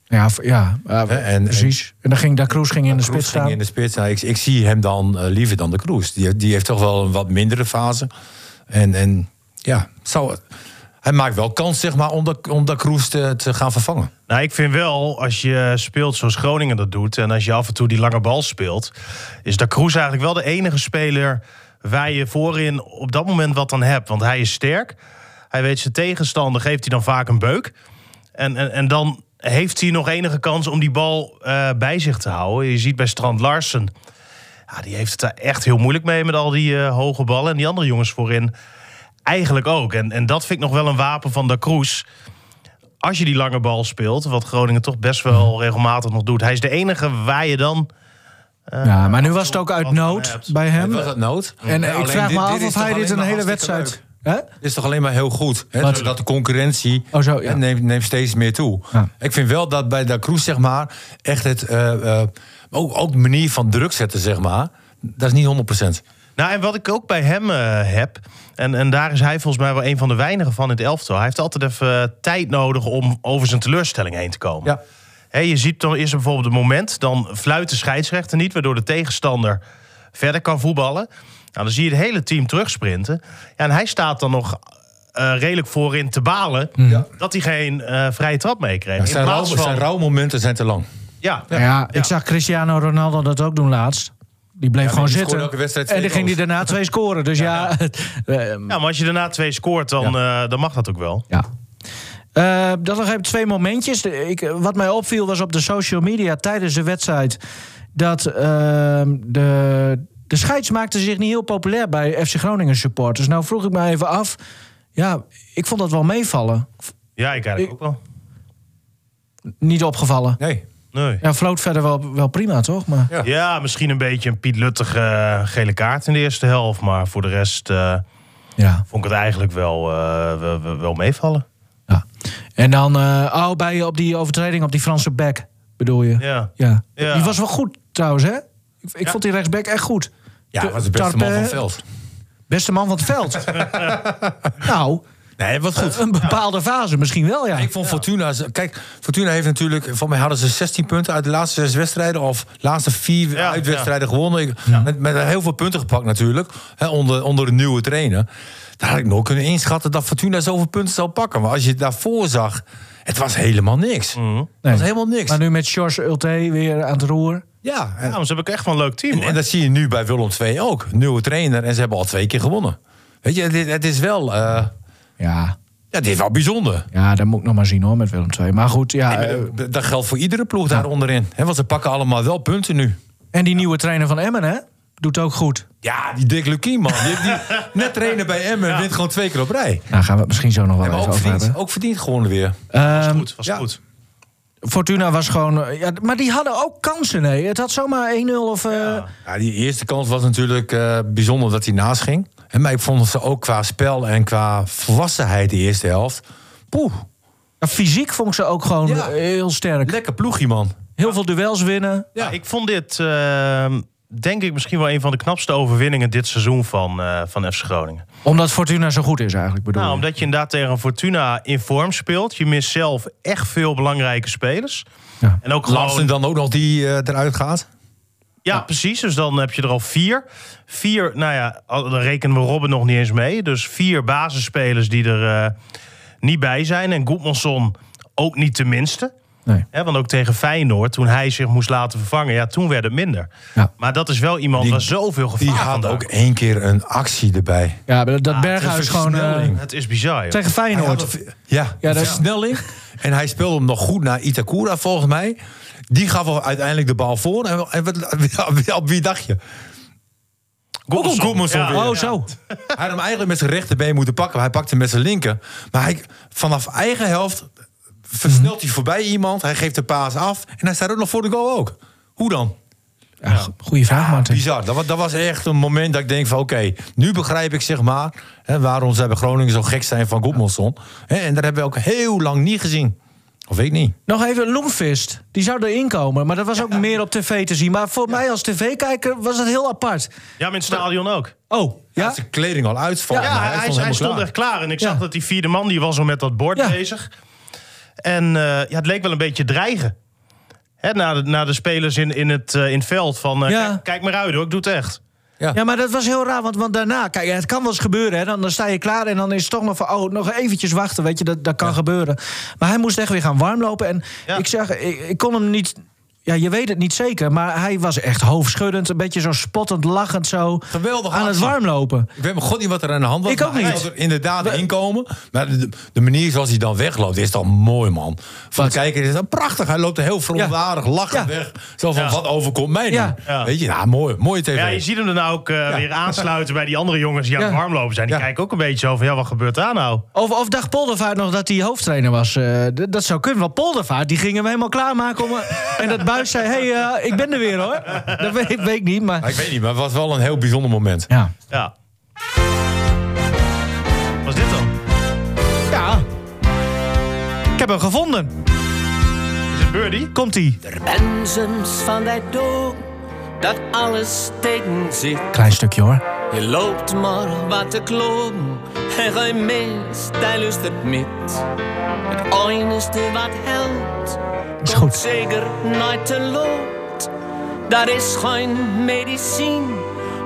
C: Ja, v- ja eh,
D: Hè, en-
C: precies. En dan ging Da Cruz ging in de
D: Kroes
C: spits
D: ging
C: staan.
D: in de spits. Nou, ik, ik zie hem dan eh, liever dan de Kroes. Die, die heeft toch wel een wat mindere fase. En, en ja, zou, hij maakt wel kans zeg maar, om dat, om dat Kroes te, te gaan vervangen.
A: Nou, ik vind wel, als je speelt zoals Groningen dat doet... en als je af en toe die lange bal speelt... is Da Cruz eigenlijk wel de enige speler waar je voorin op dat moment wat aan hebt. Want hij is sterk. Hij weet zijn tegenstander, geeft hij dan vaak een beuk. En, en, en dan heeft hij nog enige kans om die bal eh, bij zich te houden. Je ziet bij Strand Larsen... Ja, die heeft het daar echt heel moeilijk mee met al die eh, hoge ballen. En die andere jongens voorin eigenlijk ook. En, en dat vind ik nog wel een wapen van Da Cruz als je die lange bal speelt, wat Groningen toch best
D: Mhm.
A: wel regelmatig nog doet. Hij is de enige waar je dan.
C: Ja, maar nu was het ook
A: wat
C: uit
A: van
C: nood
A: hebt.
C: bij hem.
D: was dat nood?
C: En eh,
D: Ja,
C: ik
D: alleen
C: vraag
D: dit-
C: me
D: dit
C: af
D: is
C: of
D: toch
C: hij dit
D: alleen
C: een
D: maar
C: hele
D: hartstikke
C: wedstrijd.
D: leuk.
C: Hè?
D: Het is toch alleen maar heel goed. Hè?
C: Wat?
D: Zodat de concurrentie
C: Oh, zo, ja.
D: hè, neemt, neemt steeds meer toe.
C: Ja.
D: Ik vind wel dat bij Da Cruz, zeg maar, echt het. eh, eh, ook, ook de manier van druk zetten, zeg maar. Dat is niet 100%.
A: Nou, en wat ik ook bij hem eh, heb, en, en daar is hij volgens mij wel een van de weinigen van in het elftal. Hij heeft altijd even eh, tijd nodig om over zijn teleurstelling heen te komen.
D: Ja.
A: Hè, je ziet dan is er bijvoorbeeld een moment, dan fluit de scheidsrechter niet, waardoor de tegenstander verder kan voetballen. Nou, dan zie je het hele team terugsprinten. Ja, en hij staat dan nog eh, redelijk voorin te balen dat hij geen eh, vrije trap meekreeg. In
D: Mhm. zijn, rouw,
A: plaats van-
D: zijn rouwmomenten zijn te lang.
A: Ja,
C: Ja, ik zag Cristiano Ronaldo dat ook doen laatst. Die bleef gewoon
D: die
C: zitten.
D: scoorde elke wedstrijd
C: en dan
D: twee
C: ging hij
D: goals.
C: daarna twee scoren. Dus ja. eh,
A: Ja, maar als je daarna twee scoort, dan, eh, dan mag dat ook wel.
C: ja. Eh, dat nog even twee momentjes. De- Ik, eh, wat mij opviel was op de social media tijdens de wedstrijd. dat ehm, de, de scheids maakte zich niet heel populair bij FC Groningen supporters. Nou vroeg ik me even af. Ja, ik vond dat wel meevallen.
A: Ja, ik eigenlijk ook wel.
C: niet opgevallen.
D: Nee.
A: Nee.
C: Ja, floot verder wel, wel prima, toch? Maar,
D: Ja.
A: Ja, misschien een beetje een Piet Luttige eh, gele kaart in de eerste helft. Maar voor de rest eh,
C: ja.
A: vond ik het eigenlijk wel, eh, wel, wel- wel meevallen.
C: ja. En dan, eh oh, bij op die overtreding op die Franse back, bedoel je?
A: Ja.
C: Ja.
A: Ja.
C: Die was wel goed trouwens, hè? Ik, ik
A: Ja.
C: vond die rechtsback echt goed.
D: Ja, was de beste man van het veld.
C: Beste man van het veld. nou,
D: Nee, wat goed.
C: een bepaalde fase misschien wel, ja.
D: Ik vond Fortuna... Kijk, Fortuna heeft natuurlijk... Van mij hadden ze 16 punten uit de laatste zes wedstrijden... of laatste vier
A: Ja,
D: uitwedstrijden gewonnen. Ik- Met, met heel veel punten gepakt natuurlijk. Hè, onder, onder de nieuwe trainer. Daar had ik nooit kunnen inschatten dat Fortuna zoveel punten zou pakken. Maar als je het daarvoor zag... Het was helemaal niks. Het was helemaal niks.
C: Maar nu met George Ulte weer aan het roer.
D: Ja, en,
A: Nou, ze hebben ook echt wel een leuk team.
D: en,
A: hoor.
D: en dat zie je nu bij Willem II ook. Nieuwe trainer en ze hebben al twee keer gewonnen. Weet je, het, is- het is wel... eh,
C: Ja,
D: ja, dit is wel bijzonder.
C: ja, dat moet ik nog maar zien hoor met Willem II. Maar goed, ja.
D: Nee,
C: eh,
D: maar dat- dat geldt voor iedere ploeg daar onderin. Hè, want ze pakken allemaal wel punten nu.
C: en die nieuwe trainer van Emmen, hè? Doet ook goed.
D: Ja, die Dick Lukien, man. Die, die net trainen bij Emmen en wint gewoon twee keer op rij.
C: Nou, gaan we het misschien zo nog wel
D: Maar
C: even
D: ook
C: over
D: verdient,
C: hebben.
D: ook verdient gewoon weer.
C: Ehm,
A: goed, was
D: ja.
A: goed.
C: Fortuna was gewoon... eh, Ja, maar die hadden ook kansen, hè? Het had zomaar 1-0 of... eh,
D: Ja, die eerste kans was natuurlijk eh, bijzonder dat hij naast ging. En, maar ik vond ze ook qua spel en qua volwassenheid de eerste helft. Poeh,
C: ja, fysiek vond ik ze ook gewoon
D: Ja.
C: heel sterk.
D: lekker ploegje, man.
C: Heel veel duels winnen.
D: Ja.
A: Ja. Ik vond dit, ehm, denk ik, misschien wel een van de knapste overwinningen dit seizoen van, eh, van FC Groningen.
C: Omdat Fortuna zo goed is eigenlijk, bedoel
A: Nou,
C: ik.
A: omdat je inderdaad tegen een Fortuna in vorm speelt. Je mist zelf echt veel belangrijke spelers.
C: Ja.
A: En ook
D: Laatste
A: gewoon,
D: dan ook nog die eh, eruit gaat.
A: ja, precies. Dus dan heb je er al vier. Vier, nou ja, al- dan rekenen we Robben nog niet eens mee. Dus vier basisspelers die er eh, niet bij zijn. En Goedmanson ook niet de minste.
C: Nee.
A: Hè, want ook tegen Feyenoord, toen hij zich moest laten vervangen, ja, toen werd het minder.
C: Ja.
A: Maar dat is wel iemand
D: Die-
A: waar zoveel gevaar
D: Die had
A: vandaan
D: ook één keer een actie erbij.
C: Ja, maar dat, dat
D: het
C: Berghuis
D: is
C: gewoon...
D: versnelling.
C: eh,
A: Het is bizar. joh.
C: tegen Feyenoord.
D: Hij had een- Ja,
C: Ja,
D: ja
C: dat-
D: versnelling. En hij speelde hem nog goed naar Itakura, volgens mij. Die gaf wel uiteindelijk de bal voor. En, en wat- op wie dacht je?
A: Goedmanson.
D: Ook Goedmanson
A: Ja.
D: weer.
C: Oh, zo.
D: Hij had hem eigenlijk met zijn rechterbeen moeten pakken. maar Hij pakte hem met zijn linker. Maar hij, vanaf eigen helft versnelt hij voorbij iemand. Hij geeft de paas af. En hij staat ook nog voor de goal ook. Hoe dan?
C: Ja, go- Goeie vraag, Martin.
D: Bizar. Dat was, dat was echt een moment dat ik denk van... oké, nu begrijp ik zeg maar... Hè, waarom zij bij Groningen zo gek zijn van Goedmanson. Hè, En dat hebben we ook heel lang niet gezien. Of weet ik niet.
C: Nog even Loemvist. Die zou erin komen, maar dat was ook meer op tv te zien. Maar voor mij als tv-kijker was het heel apart.
A: Ja, met het stadion ook.
C: Oh,
D: Ja?
C: ja?
D: zijn kleding al uitvalt.
A: Ja, hij, hij stond echt klaar. En ik
C: Ja.
A: zag dat die vierde man, die was al met dat bord
C: Ja.
A: bezig. En eh, ja, het leek wel een beetje dreigen. Hè, naar, de, naar de spelers in, in, het, eh, in het veld. Van, eh,
C: Ja.
A: kijk, kijk maar uit hoor, ik doe het echt.
C: Ja, maar dat was heel raar, want, want daarna... Kijk, het kan wel eens gebeuren, hè. Dan, dan sta je klaar en dan is het toch nog van... Oh, nog eventjes wachten, weet je, dat, dat kan gebeuren. Maar hij moest echt weer gaan warmlopen. En
A: Ja.
C: ik zeg, ik, ik kon hem niet... Ja, je weet het niet zeker, maar hij was echt hoofdschuddend. Een beetje zo spottend, lachend zo.
D: Geweldig
C: Aan het
D: actie.
C: warmlopen.
D: Ik weet mijn god niet wat er aan de hand was.
C: Ik ook
D: maar hij
C: niet.
D: had er inderdaad inkomen. Maar de, de manier zoals hij dan wegloopt is dan mooi, man. Van de kijker is dat prachtig. Hij loopt er heel verontwaardig, lachend
C: Ja.
D: weg. Zo van,
A: Ja.
D: wat overkomt mij nu?
C: Ja.
A: Ja.
D: Weet je, nou, mooi. Mooie tv.
A: Ja, je ziet hem dan ook eh, weer aansluiten bij die andere jongens die aan
C: Ja.
A: het warmlopen zijn. Die
D: Ja.
A: kijken ook een beetje zo van, ja, wat gebeurt daar nou?
C: Of, of dacht Poldervaart nog dat hij hoofdtrainer was? Eh, d- dat zou kunnen, want Poldervaart die ging hem helemaal klaarmaken. Om, eh, en dat buis zei, hé, hey, eh, ik ben er weer hoor. Dat weet, ik- weet ik niet,
D: Maar
C: maar...
D: ik weet niet, maar het was wel een heel bijzonder moment.
C: Ja.
A: Ja. Wat is dit dan?
C: ja. Ik heb hem gevonden.
A: Is het Birdie?
C: Komt-ie.
E: Er ben soms van dat doel dat alles tegen zit.
C: Klein stukje hoor.
E: Je loopt maar wat te kloppen en gij mist, hij lustert met. Het enigste wat helpt,
C: Is
E: komt
C: goed.
E: zeker nooit te lood. Daar is geen medicijn,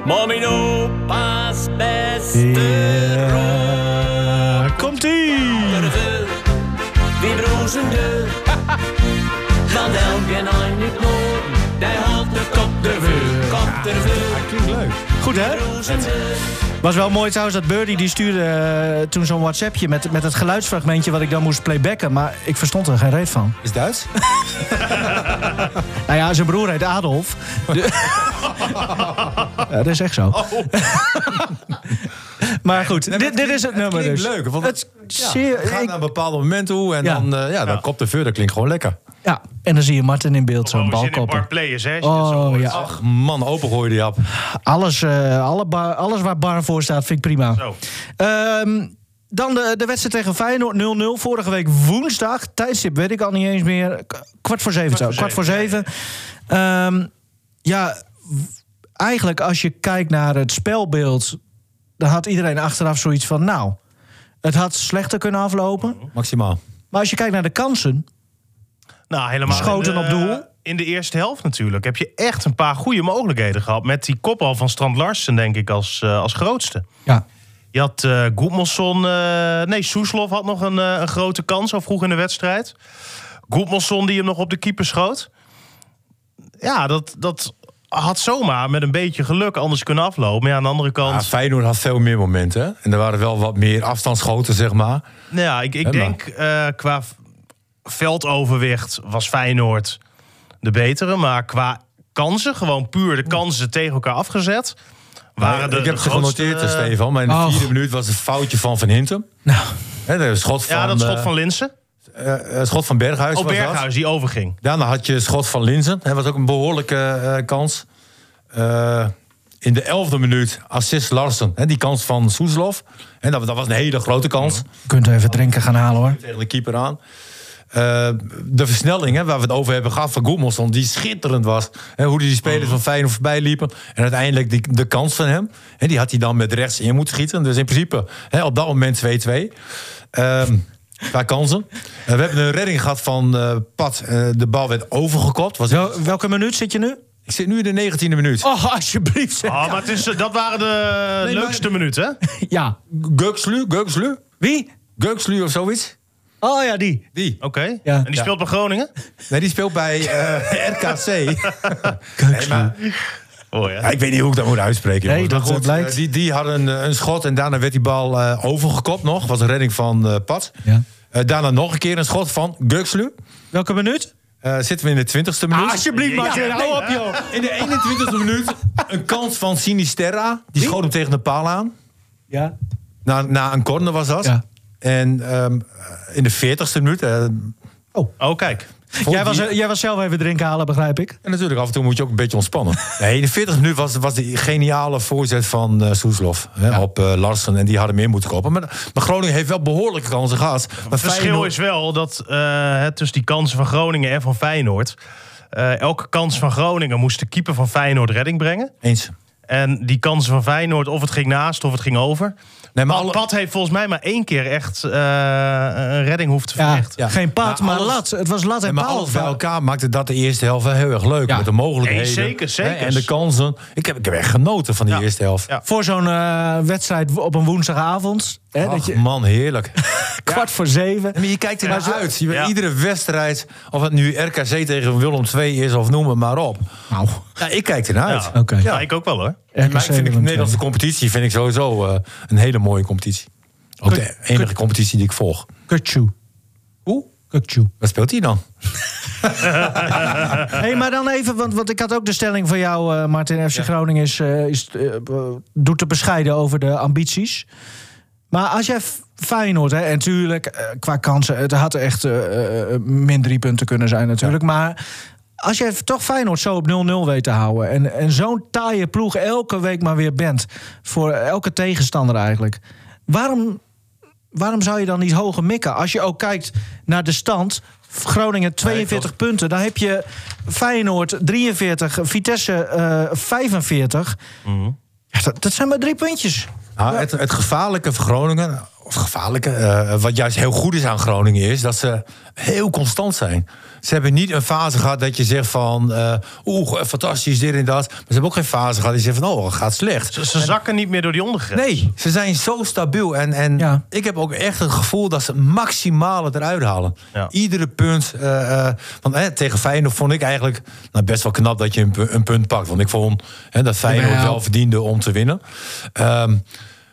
E: maar mijn opa's beste
C: Daar Eh, Komt-ie.
E: Durven, die brozende. Want elke nacht nou niet nood, die houdt de kop ervoor, kop ervoor.
C: Goed hè? Was wel mooi trouwens dat Birdie die stuurde eh, toen zo'n WhatsAppje met, met het geluidsfragmentje wat ik dan moest playbacken. Maar ik verstond er geen reet van.
D: Is het Duits?
A: Oh,
C: Nou ja, zijn broer heet Adolf. De- ja, dat is echt zo. maar goed, dit, dit is het nummer dus.
D: Klinkt leuk. Want
C: het
D: ja,
C: zeer-
D: gaat
C: ik-
D: naar een bepaald moment toe en
C: Ja.
D: dan, eh, ja, dan kopt de vuur. Dat klinkt gewoon lekker.
C: Ja, en dan zie je Martin in beeld zo'n
A: Gewoon
C: bal
A: zin Oh, in bar
C: koppen.
A: players, hè? als je dat zo
C: Oh
A: hoort.
C: ja,
D: Ach, man, opengooien die app.
C: alles, eh, alle bar- alles waar bar voor staat vind ik prima.
A: Zo.
C: Ehm, dan de, de wedstrijd tegen Feyenoord 0-0. Vorige week woensdag. Tijdstip weet ik al niet eens meer. K- Kwart voor zeven. Kwart, Kwart voor zeven. Ehm, ja, w- eigenlijk als je kijkt naar het spelbeeld... dan had iedereen achteraf zoiets van... nou, het had slechter kunnen aflopen.
D: Maximaal.
C: Maar als je kijkt naar de kansen...
A: Nou, helemaal.
C: Schoten
A: in de-
C: op doel.
A: In de eerste helft natuurlijk heb je echt een paar goede mogelijkheden gehad. Met die kopbal van Strand Larsen, denk ik, als, eh, als grootste.
C: Ja,
A: Je had eh Goedmanson. eh, nee, Soeslof had nog een, eh, een grote kans al vroeg in de wedstrijd. Goedmanson die hem nog op de keeper schoot. Ja, dat, dat had zomaar met een beetje geluk anders kunnen aflopen. Maar ja, aan de andere
D: Ja,
A: kant.
D: Feyenoord had veel meer momenten. hè. En er waren wel wat meer afstandsschoten, zeg maar.
A: Nou ja, ik, ik
D: Emma.
A: denk eh, qua v- veldoverwicht was Feyenoord de betere. Maar qua kansen, gewoon puur de kansen tegen elkaar afgezet. Waren Ah, de,
D: ik heb
A: de
D: ze
A: grootste-
D: genoteerd, eh, Stefan. Maar in de
C: Oh.
D: vierde minuut was het foutje van Van Hintem.
C: nou,
D: Hè, de schot van,
A: Ja, dat schot
D: eh,
A: van Linsen.
D: eh, eh, schot van Berghuis
A: Op
D: was dat.
A: Berghuis, die overging.
D: Daarna had je schot van Linzen. Dat was ook een behoorlijke eh, kans. Eh, in de elfde minuut assist Larsen. Hè, die kans van Soeslof. En dat, dat was een hele grote kans.
C: je kunt even drinken gaan halen hoor.
D: Tegen de keeper aan. Eh, de versnelling hè, waar we het over hebben gehad van Goedmanson... die schitterend was. Hè, hoe die, die
C: Mhm.
D: spelers van Feyenoord voorbij liepen. En uiteindelijk die, de kans van hem. Hè, die had hij dan met rechts in moeten schieten. Dus in principe hè, op dat moment 2-2. Ehm qua kansen. Eh, we hebben een redding gehad van eh, Pat. Eh, de bal werd overgekopt. Was
C: Wel- welke minuut zit je nu?
D: ik zit nu in de 19e minuut.
C: Oh, alsjeblieft. zeg.
A: Ah, maar het is, dat waren de
D: Nee, maar-
A: leukste minuten. hè?
C: Ja.
D: Gukslu, Gukslu,
C: Wie?
D: Gukslu of zoiets.
C: Oh ja, die.
D: Die.
A: Oké.
C: Ja.
A: En die
D: Ja.
A: speelt bij Groningen?
D: Nee, die speelt bij eh, RKC. Nee, maar,
A: Oh
D: ja, ik weet niet hoe ik dat moet uitspreken.
C: Nee,
D: jongens. Maar
C: dat, eh, blijkt.
D: eh, die, die hadden een, een schot en daarna werd die bal eh, overgekopt nog. Was een redding van eh Pat.
C: Ja.
D: Eh, daarna nog een keer een schot van Gukslu.
C: Welke minuut?
D: Eh, zitten we in de 20e minuut.
C: Ah, alsjeblieft,
A: Martin, hou op,
C: joh.
D: in de 21e minuut een kans van Sinisterra. Die schoot hem tegen de paal aan.
C: Ja.
D: Na, na een corner was dat.
C: Ja.
D: En ehm, in de 40e minuut... eh,
A: Oh, kijk.
D: vond
C: Jij was,
D: die-
C: jij was zelf even drinken halen, begrijp ik.
D: En natuurlijk, af en toe moet je ook een beetje ontspannen. Nee, in de 40 minuten was, was die geniale voorzet van eh Soeslof hè, op eh, Larsen. En die hadden meer moeten kopen. Maar, maar Groningen heeft wel behoorlijke kansen gehad. Maar
A: Het verschil
D: Feyenoord-
A: is wel dat eh, het tussen die kansen van Groningen en van Feyenoord... eh, elke kans van Groningen moest de keeper van Feyenoord redding brengen.
D: Eens.
A: En die kansen van Feyenoord, of het ging naast of het ging over.
D: Nee, maar
A: Maar
D: alle-
A: Pat heeft volgens mij maar één keer echt eh, een redding hoeft te
C: Ja,
A: verrichten.
D: Ja.
C: Geen pad,
D: Maar
C: maar,
D: alles-
C: lat. Het was lat en,
D: En maar
C: paal.
D: alles bij elkaar maakte dat de eerste helft wel heel erg leuk.
C: Ja.
D: Met de mogelijkheden.
A: Nee, zeker, zeker.
D: hè, En de kansen. Ik heb, ik heb echt genoten van die
A: Ja.
D: eerste helft.
A: Ja.
C: Voor zo'n eh, wedstrijd op een woensdagavond. Hè,
D: Ach,
C: dat je,
D: man, heerlijk.
C: Kwart voor zeven.
D: En je kijkt ernaar uit. Je,
A: Ja.
D: Iedere wedstrijd, of het nu RKC tegen Willem II is of noem het maar op.
C: Nou,
D: Ja, ik kijk ernaar uit.
A: Ja.
C: Oké.
A: Ja, ik ook wel hoor.
D: Maar ik vind de Nederlandse competitie vind ik sowieso eh, een hele mooie competitie. Ook de enige competitie die ik volg.
C: Kutsu. Hoe? Kutsu.
D: Wat speelt hij dan?
C: Hé, hey, maar dan even, want, want ik had ook de stelling van jou, eh, Martin. FC Groningen is, eh, is, eh, doet te bescheiden over de ambities. Maar als jij F- Feyenoord, hè, en natuurlijk eh, qua kansen, het had echt eh, eh, min drie punten kunnen zijn natuurlijk. Maar als jij toch Feyenoord zo op 0-0 weet te houden en, en zo'n taaie ploeg elke week maar weer bent voor elke tegenstander eigenlijk, waarom, waarom zou je dan niet hoger mikken? Als je ook kijkt naar de stand. Groningen 42 punten. Dan heb je Feyenoord 43, Vitesse eh, 45. Ja, dat, dat zijn maar drie puntjes.
D: Nou, het, het gevaarlijke van Groningen, of gevaarlijke, eh, wat juist heel goed is aan Groningen, is dat ze heel constant zijn. Ze hebben niet een fase gehad dat je zegt van, eh, oeh, fantastisch, dit en dat. Maar ze hebben ook geen fase gehad die zegt van, oh, het gaat slecht.
A: Ze, ze zakken niet meer door die ondergrens.
D: Nee, ze zijn zo stabiel. En, en
C: Ja.
D: ik heb ook echt het gevoel dat ze maximaal het eruit halen.
A: Ja.
D: Iedere punt. eh, eh, want eh, tegen Feyenoord vond ik eigenlijk nou, best wel knap dat je een, pu- een punt pakt. Want ik vond hè, dat Feyenoord
C: Jawel.
D: wel verdiende om te winnen. Ehm,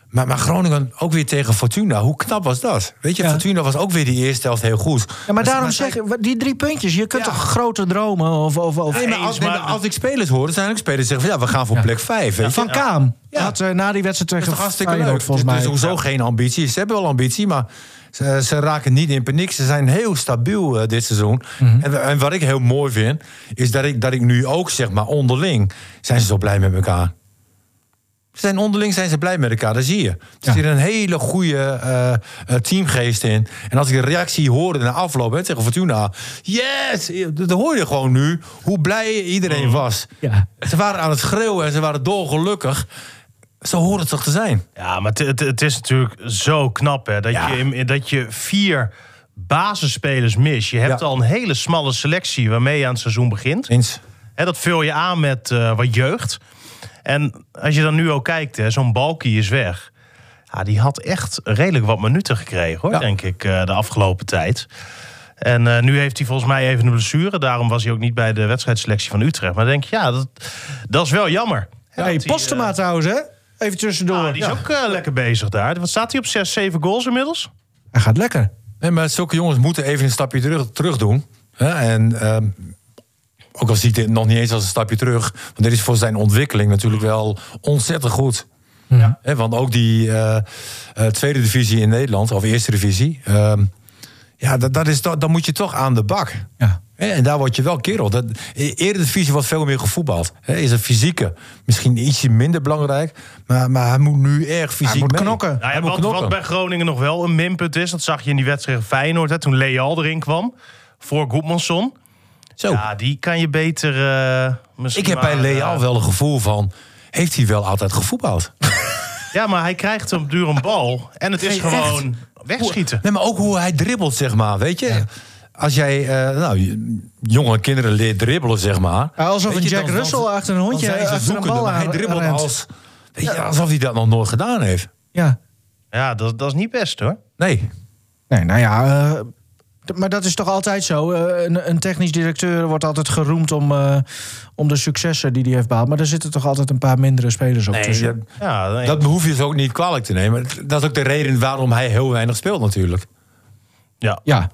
D: maar, maar Groningen ook weer tegen Fortuna. Hoe knap was dat? Weet je,
C: Ja.
D: Fortuna was ook weer die eerste helft heel goed. Dus
C: Ja, maar daarom
D: zij-
C: zeg ik, die drie puntjes. Je kunt
D: Ja.
C: toch grote dromen of... of, of
D: Nee, maar als,
A: Eens, maar-
D: nee, maar als ik spelers hoor, dan zijn er ook spelers die zeggen van ja, we gaan voor plek 5. Weet je?
C: van Kaam.
D: Ja.
C: Had, eh, na die wedstrijd
D: Dat is
C: tegen
D: toch hartstikke
C: Feyenoord
D: leuk.
C: volgens
D: Dus-
C: mij.
D: Dus sowieso geen ambitie. Ze hebben wel ambitie, maar Ze, ze raken niet in paniek. Ze zijn heel stabiel eh, dit seizoen. en, wa- en wat ik heel mooi vind, is dat ik, dat ik nu ook zeg maar onderling... zijn ze zo blij met elkaar. Ze zijn onderling zijn ze blij met elkaar, dat zie je. Er zit een hele goede eh, eh, teamgeest in. En als ik de reactie hoorde na afloop hè, tegen Fortuna... Yes! Dat hoor je gewoon nu, hoe blij iedereen was.
F: Ja.
D: Ze waren aan het schreeuwen en ze waren dolgelukkig. Zo hoort het toch te zijn?
A: Ja, maar het- het- het is natuurlijk zo knap hè, dat, je, in- dat je vier basisspelers mist. Je hebt
D: Ja.
A: al een hele smalle selectie waarmee je aan het seizoen begint.
D: Eens.
A: Hè, dat vul je aan met eh, wat jeugd. En als je dan nu ook kijkt, hè, zo'n Balkie is weg. Ja, die had echt redelijk wat minuten gekregen, hoor,
D: Ja.
A: denk ik, eh, de afgelopen tijd. En eh, nu heeft hij volgens mij even een blessure. Daarom was hij ook niet bij de wedstrijdselectie van Utrecht. Maar dan denk ik, ja, dat, dat is wel jammer. Hè,
C: hey,
A: dat hij,
C: Postema trouwens, hè? Even tussendoor.
A: eh, ah, die is
C: eh. Ja.
A: ook eh, lekker bezig daar. Wat staat hij op? 6, 7 goals inmiddels? Nou
C: Hij gaat lekker.
D: Nee, maar zulke jongens moeten even een stapje terug, terug doen. Hè? En ehm, ook al ziet dit nog niet eens als een stapje terug. Want dit is voor zijn ontwikkeling natuurlijk wel ontzettend goed. Ja. want ook die eh, eh, tweede divisie in Nederland, of eerste divisie. ehm, ja, dat, dat is, toch- dan moet je toch aan de bak.
C: Ja.
D: Hè, En daar word je wel kerel. Dat, eerder divisie wordt veel meer gevoetbald. Hè, is het fysieke misschien ietsje minder belangrijk. Maar, maar hij moet nu erg fysiek
C: moet
D: mee.
C: knokken.
A: Nou ja, wat, wat bij Groningen nog wel een minpunt is, dat zag je in die wedstrijd tegen Feyenoord, hè, toen Leal erin kwam voor Goedmanson.
D: Zo.
A: Ja, die kan je beter eh, misschien
D: Oh. Ik heb bij
A: maar,
D: Leal
A: eh,
D: wel een gevoel van... heeft hij wel altijd gevoetbald?
A: Ja, maar hij krijgt op duur een bal en het is
D: Nee, echt.
A: gewoon wegschieten.
D: Nee, maar ook hoe hij dribbelt, zeg maar. Weet je? Als jij eh, nou, j- jonge kinderen leert dribbelen, zeg maar...
C: Ja, alsof
D: weet
C: een
D: je,
C: Jack
D: dan-
C: Russell
D: dan-
C: achter een hondje,
D: dan zijn ze
C: achter een
D: zoekende,
C: bal
D: maar
C: aan-
D: Hij dribbelt
C: rent.
D: als... Weet je, alsof hij dat nog nooit gedaan heeft.
C: Ja.
A: Ja, dat, dat is niet best hoor.
D: Nee.
C: Nee, nou ja. eh, d- maar dat is toch altijd zo? Eh, een, een technisch directeur wordt altijd geroemd om, eh, om de successen die hij heeft behaald. Maar er zitten toch altijd een paar mindere spelers op tussen.
D: dat,
A: Ja, nee.
D: dat hoef je ze ook niet kwalijk te nemen. Dat is ook de reden waarom hij heel weinig speelt, natuurlijk.
A: ja.
C: Ja.